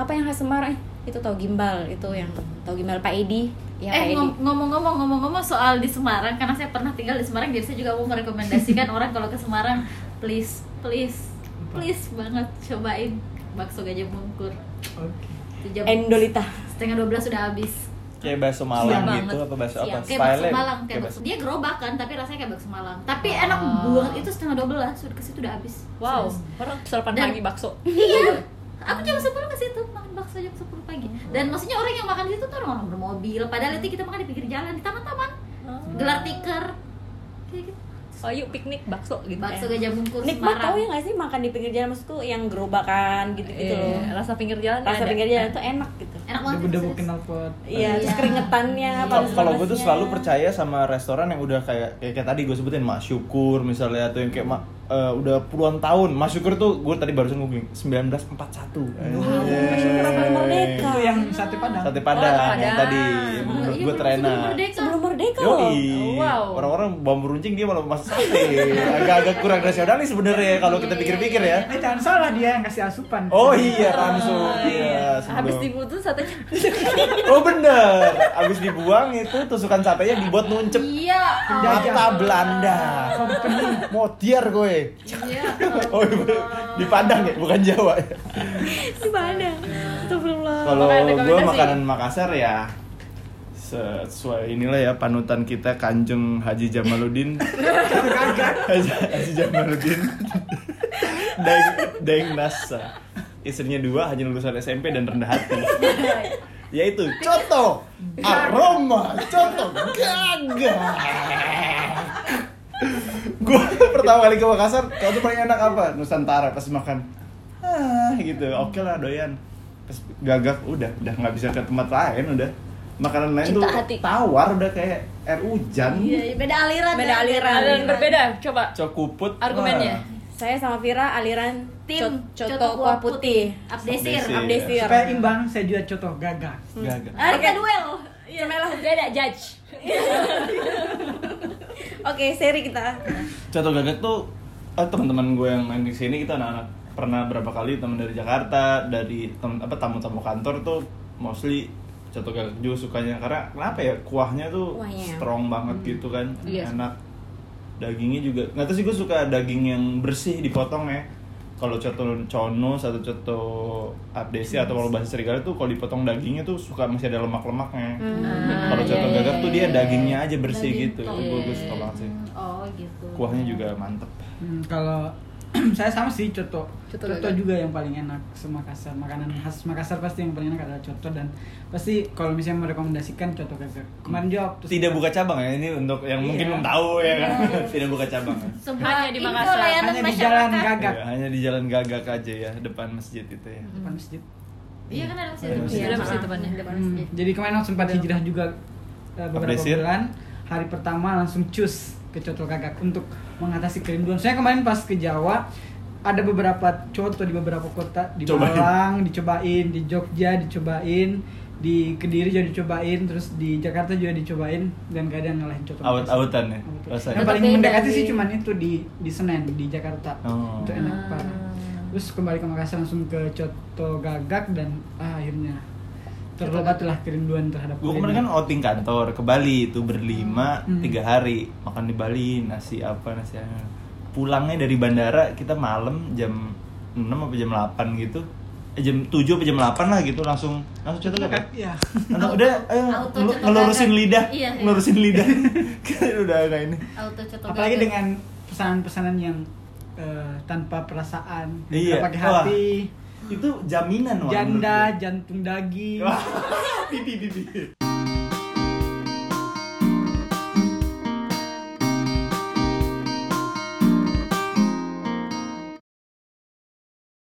[SPEAKER 5] apa yang khas Semarang Eh, itu tahu gimbal itu yang tahu gimbal Pak Edi ya Pak
[SPEAKER 2] eh
[SPEAKER 5] Edi
[SPEAKER 2] ngom- ngomong-ngomong ngomong-ngomong soal di Semarang karena saya pernah tinggal di Semarang jadi saya juga mau merekomendasikan orang kalau ke Semarang please please please banget cobain bakso gajah mungkur
[SPEAKER 3] Oke.
[SPEAKER 2] Itu jam
[SPEAKER 5] Endolita
[SPEAKER 2] setengah 12 sudah habis
[SPEAKER 1] kayak bakso Malang
[SPEAKER 4] Siap
[SPEAKER 1] gitu
[SPEAKER 4] banget.
[SPEAKER 1] apa bakso apa?
[SPEAKER 5] Siap.
[SPEAKER 2] kayak bakso
[SPEAKER 1] Style-nya
[SPEAKER 2] Malang kayak
[SPEAKER 1] kayak
[SPEAKER 2] bakso. dia gerobak kan tapi rasanya kayak bakso Malang tapi enak
[SPEAKER 4] Ah.
[SPEAKER 2] banget itu setengah 12 sudah ke situ udah habis
[SPEAKER 4] Wow,
[SPEAKER 2] Serius.
[SPEAKER 4] orang sarapan
[SPEAKER 2] Dan-
[SPEAKER 4] pagi bakso.
[SPEAKER 2] iya aku jam 10 ke situ makan bakso jam 10 pagi dan maksudnya orang yang makan di situ tuh orang, orang bermobil padahal itu kita makan di pinggir jalan di taman-taman gelar tikar kayak gitu
[SPEAKER 4] Oh, yuk piknik bakso gitu.
[SPEAKER 2] bakso gajah mungkur
[SPEAKER 5] nikmat
[SPEAKER 2] Semarang
[SPEAKER 5] tau ya nggak sih makan di pinggir jalan maksudku yang gerobakan gitu-gitu
[SPEAKER 4] Iya,
[SPEAKER 5] loh
[SPEAKER 4] rasa pinggir jalan
[SPEAKER 5] gitu.
[SPEAKER 4] ya,
[SPEAKER 5] rasa
[SPEAKER 4] ada.
[SPEAKER 5] pinggir jalan itu
[SPEAKER 2] Iya.
[SPEAKER 5] enak gitu
[SPEAKER 2] enak banget
[SPEAKER 3] Debu-debu
[SPEAKER 2] serius.
[SPEAKER 3] knalpot.
[SPEAKER 5] iya terus
[SPEAKER 2] Iya.
[SPEAKER 5] keringetannya
[SPEAKER 1] Kalau-
[SPEAKER 5] panas-panasnya.
[SPEAKER 1] Kalau gue tuh selalu percaya sama restoran yang udah kayak kayak, kayak tadi gue sebutin Mas Syukur misalnya atau yang kayak ma- eh, udah puluhan tahun Mas Syukur tuh gue tadi barusan googling 1941
[SPEAKER 5] Syukur
[SPEAKER 1] wow.
[SPEAKER 5] apa merdeka
[SPEAKER 3] Itu yang sate padang.
[SPEAKER 1] Sate Padang
[SPEAKER 4] Oh,
[SPEAKER 1] yang
[SPEAKER 4] Padang.
[SPEAKER 1] tadi
[SPEAKER 4] Oh,
[SPEAKER 2] Oh,
[SPEAKER 1] menurut
[SPEAKER 2] iya,
[SPEAKER 1] gue
[SPEAKER 2] bener,
[SPEAKER 1] terenak
[SPEAKER 2] sebelum merdeka.
[SPEAKER 5] sebelum merdeka loh
[SPEAKER 1] Yoi,
[SPEAKER 4] Wow.
[SPEAKER 1] orang-orang bambu runcing dia malah masak sate Agak-agak kurang rasionalis sebenarnya kalau
[SPEAKER 4] Iya.
[SPEAKER 1] kita pikir-pikir ya
[SPEAKER 3] Eh jangan salah dia yang kasih asupan.
[SPEAKER 1] Oh iya Ransu
[SPEAKER 4] Iya.
[SPEAKER 1] Iya,
[SPEAKER 4] Habis
[SPEAKER 1] sebelum-
[SPEAKER 4] dibutuh satenya.
[SPEAKER 1] Oh bener, abis dibuang itu tusukan satenya dibuat nuncep
[SPEAKER 2] iya
[SPEAKER 1] Mata
[SPEAKER 3] Jajang.
[SPEAKER 1] Belanda Modiar gue
[SPEAKER 2] iya
[SPEAKER 1] Oh iya, di Padang ya, bukan Jawa ya
[SPEAKER 5] di mana Astagfirullah
[SPEAKER 1] Kalau
[SPEAKER 4] Makanan
[SPEAKER 1] gue
[SPEAKER 4] rekomendasi.
[SPEAKER 1] makanan Makassar ya sesuai inilah ya panutan kita Kanjeng Haji Jamaluddin Haji Haji Jamaluddin Daeng, Daeng Nasa Istrinya dua, hanya lulusan SMP dan rendah hati Yaitu Coto Aroma Coto Gagah gue pertama kali ke Makassar kau tuh paling enak apa Nusantara pas makan ah gitu oke lah doyan pas gagak udah udah nggak bisa ke tempat lain udah makanan lain
[SPEAKER 4] Cinta
[SPEAKER 1] tuh
[SPEAKER 4] hati.
[SPEAKER 1] tawar udah kayak air hujan
[SPEAKER 2] Iya, iya, beda aliran
[SPEAKER 5] Beda
[SPEAKER 2] ya,
[SPEAKER 5] aliran.
[SPEAKER 4] Ada yang berbeda, coba.
[SPEAKER 1] cokuput
[SPEAKER 4] Argumennya.
[SPEAKER 5] saya sama Vira aliran
[SPEAKER 2] tim
[SPEAKER 5] co- coto kuah putih
[SPEAKER 2] Abdesir
[SPEAKER 1] Abdesir.
[SPEAKER 5] Abdesir
[SPEAKER 3] Supaya imbang saya juga contoh gagah.
[SPEAKER 1] wah, gagak
[SPEAKER 2] Ah, kita duel
[SPEAKER 5] Cemelah.
[SPEAKER 4] Beda judge.
[SPEAKER 5] oke seri kita
[SPEAKER 1] Coto Gagak tuh eh, teman-teman gue yang main di sini kita anak-anak pernah berapa kali teman dari Jakarta dari tem- apa tamu-tamu kantor tuh mostly Coto Gagak juga sukanya karena kenapa ya kuahnya tuh
[SPEAKER 5] Kuahnya.
[SPEAKER 1] strong banget gitu kan
[SPEAKER 4] Iya.
[SPEAKER 1] enak dagingnya juga nggak tahu sih gue suka daging yang bersih dipotong ya kalau coto cono satu coto abdesi atau kalau bahasa serigala tuh kalau dipotong dagingnya tuh suka masih ada lemak-lemaknya
[SPEAKER 2] Hmm.
[SPEAKER 4] Ah,
[SPEAKER 1] kalau
[SPEAKER 4] iya,
[SPEAKER 1] coto
[SPEAKER 4] iya,
[SPEAKER 1] gagak tuh dia
[SPEAKER 4] iya.
[SPEAKER 1] dagingnya aja bersih
[SPEAKER 2] Daging
[SPEAKER 1] gitu
[SPEAKER 2] tok.
[SPEAKER 1] gue gue suka banget sih
[SPEAKER 2] oh gitu
[SPEAKER 1] kuahnya juga mantep
[SPEAKER 3] Hmm, kalau saya sama sih coto.
[SPEAKER 4] Coto
[SPEAKER 3] Coto,
[SPEAKER 4] gagak.
[SPEAKER 3] juga yang paling enak se Makassar. Makanan khas Makassar pasti yang paling enak adalah coto dan pasti kalau misalnya merekomendasikan coto gagak. Kemarin juga waktu
[SPEAKER 1] tidak
[SPEAKER 3] sempat-
[SPEAKER 1] buka cabang ya ini untuk yang
[SPEAKER 3] Iya.
[SPEAKER 1] mungkin belum tahu ya kan tidak buka cabang ya.
[SPEAKER 2] Semua
[SPEAKER 4] Hanya di
[SPEAKER 2] info
[SPEAKER 4] Makassar.
[SPEAKER 2] layanan
[SPEAKER 3] hanya di jalan
[SPEAKER 2] masyarakat.
[SPEAKER 3] gagak.
[SPEAKER 1] Iya, hanya di jalan gagak aja ya depan masjid itu ya
[SPEAKER 3] Depan masjid.
[SPEAKER 2] Iya kan ada masjid.
[SPEAKER 1] Ada masjid.
[SPEAKER 2] Iya,
[SPEAKER 4] Ada masjid depannya.
[SPEAKER 2] Ada
[SPEAKER 3] Hmm,
[SPEAKER 2] masjid.
[SPEAKER 3] Jadi kemarin aku sempat hijrah juga eh, beberapa
[SPEAKER 1] Abdesir.
[SPEAKER 3] bulan. Hari pertama langsung cus ke coto gagak untuk mengatasi kerinduan. Saya kemarin pas ke Jawa ada beberapa coto di beberapa kota di
[SPEAKER 1] Cobain.
[SPEAKER 3] Malang dicobain, di Jogja dicobain, di Kediri juga dicobain terus di Jakarta juga dicobain dan gak ada yang ngalahin cocok
[SPEAKER 1] Awet-awetan ya,
[SPEAKER 3] Awet-awetan.
[SPEAKER 1] rasanya.
[SPEAKER 3] Gitu. yang
[SPEAKER 5] Tetap
[SPEAKER 3] paling
[SPEAKER 5] beda
[SPEAKER 3] mendekati sih Ah.
[SPEAKER 5] sih.
[SPEAKER 3] cuman itu di di Senen di Jakarta
[SPEAKER 1] Oh.
[SPEAKER 3] itu enak parah terus kembali ke Makassar langsung ke Coto Gagak dan ah, akhirnya terobatilah kerinduan terhadap
[SPEAKER 1] Gue kemarin kan outing kantor ke Bali itu berlima
[SPEAKER 3] Hmm.
[SPEAKER 1] tiga hari makan di Bali nasi apa nasi apa. Pulangnya dari bandara kita malam jam 6 apa jam 8 gitu. Eh, jam 7 apa jam 8 lah gitu langsung langsung cetak
[SPEAKER 3] Coto
[SPEAKER 1] kan.
[SPEAKER 3] Gagak ya
[SPEAKER 1] Nah, udah ayo
[SPEAKER 2] Auto
[SPEAKER 1] ngelu-
[SPEAKER 2] cetak
[SPEAKER 1] ngelurusin
[SPEAKER 2] kan?
[SPEAKER 1] lidah,
[SPEAKER 2] Iya, iya.
[SPEAKER 1] ngelurusin lidah. Kan udah kayak ini.
[SPEAKER 2] Auto cetok
[SPEAKER 3] apalagi
[SPEAKER 2] gagal.
[SPEAKER 3] dengan pesanan-pesanan yang eh, tanpa perasaan
[SPEAKER 1] Iya.
[SPEAKER 3] tanpa pakai
[SPEAKER 1] Wah.
[SPEAKER 3] hati
[SPEAKER 1] Itu jaminan Wan, menurut
[SPEAKER 3] janda
[SPEAKER 1] gue.
[SPEAKER 3] jantung daging
[SPEAKER 1] Wah, bibi bibi.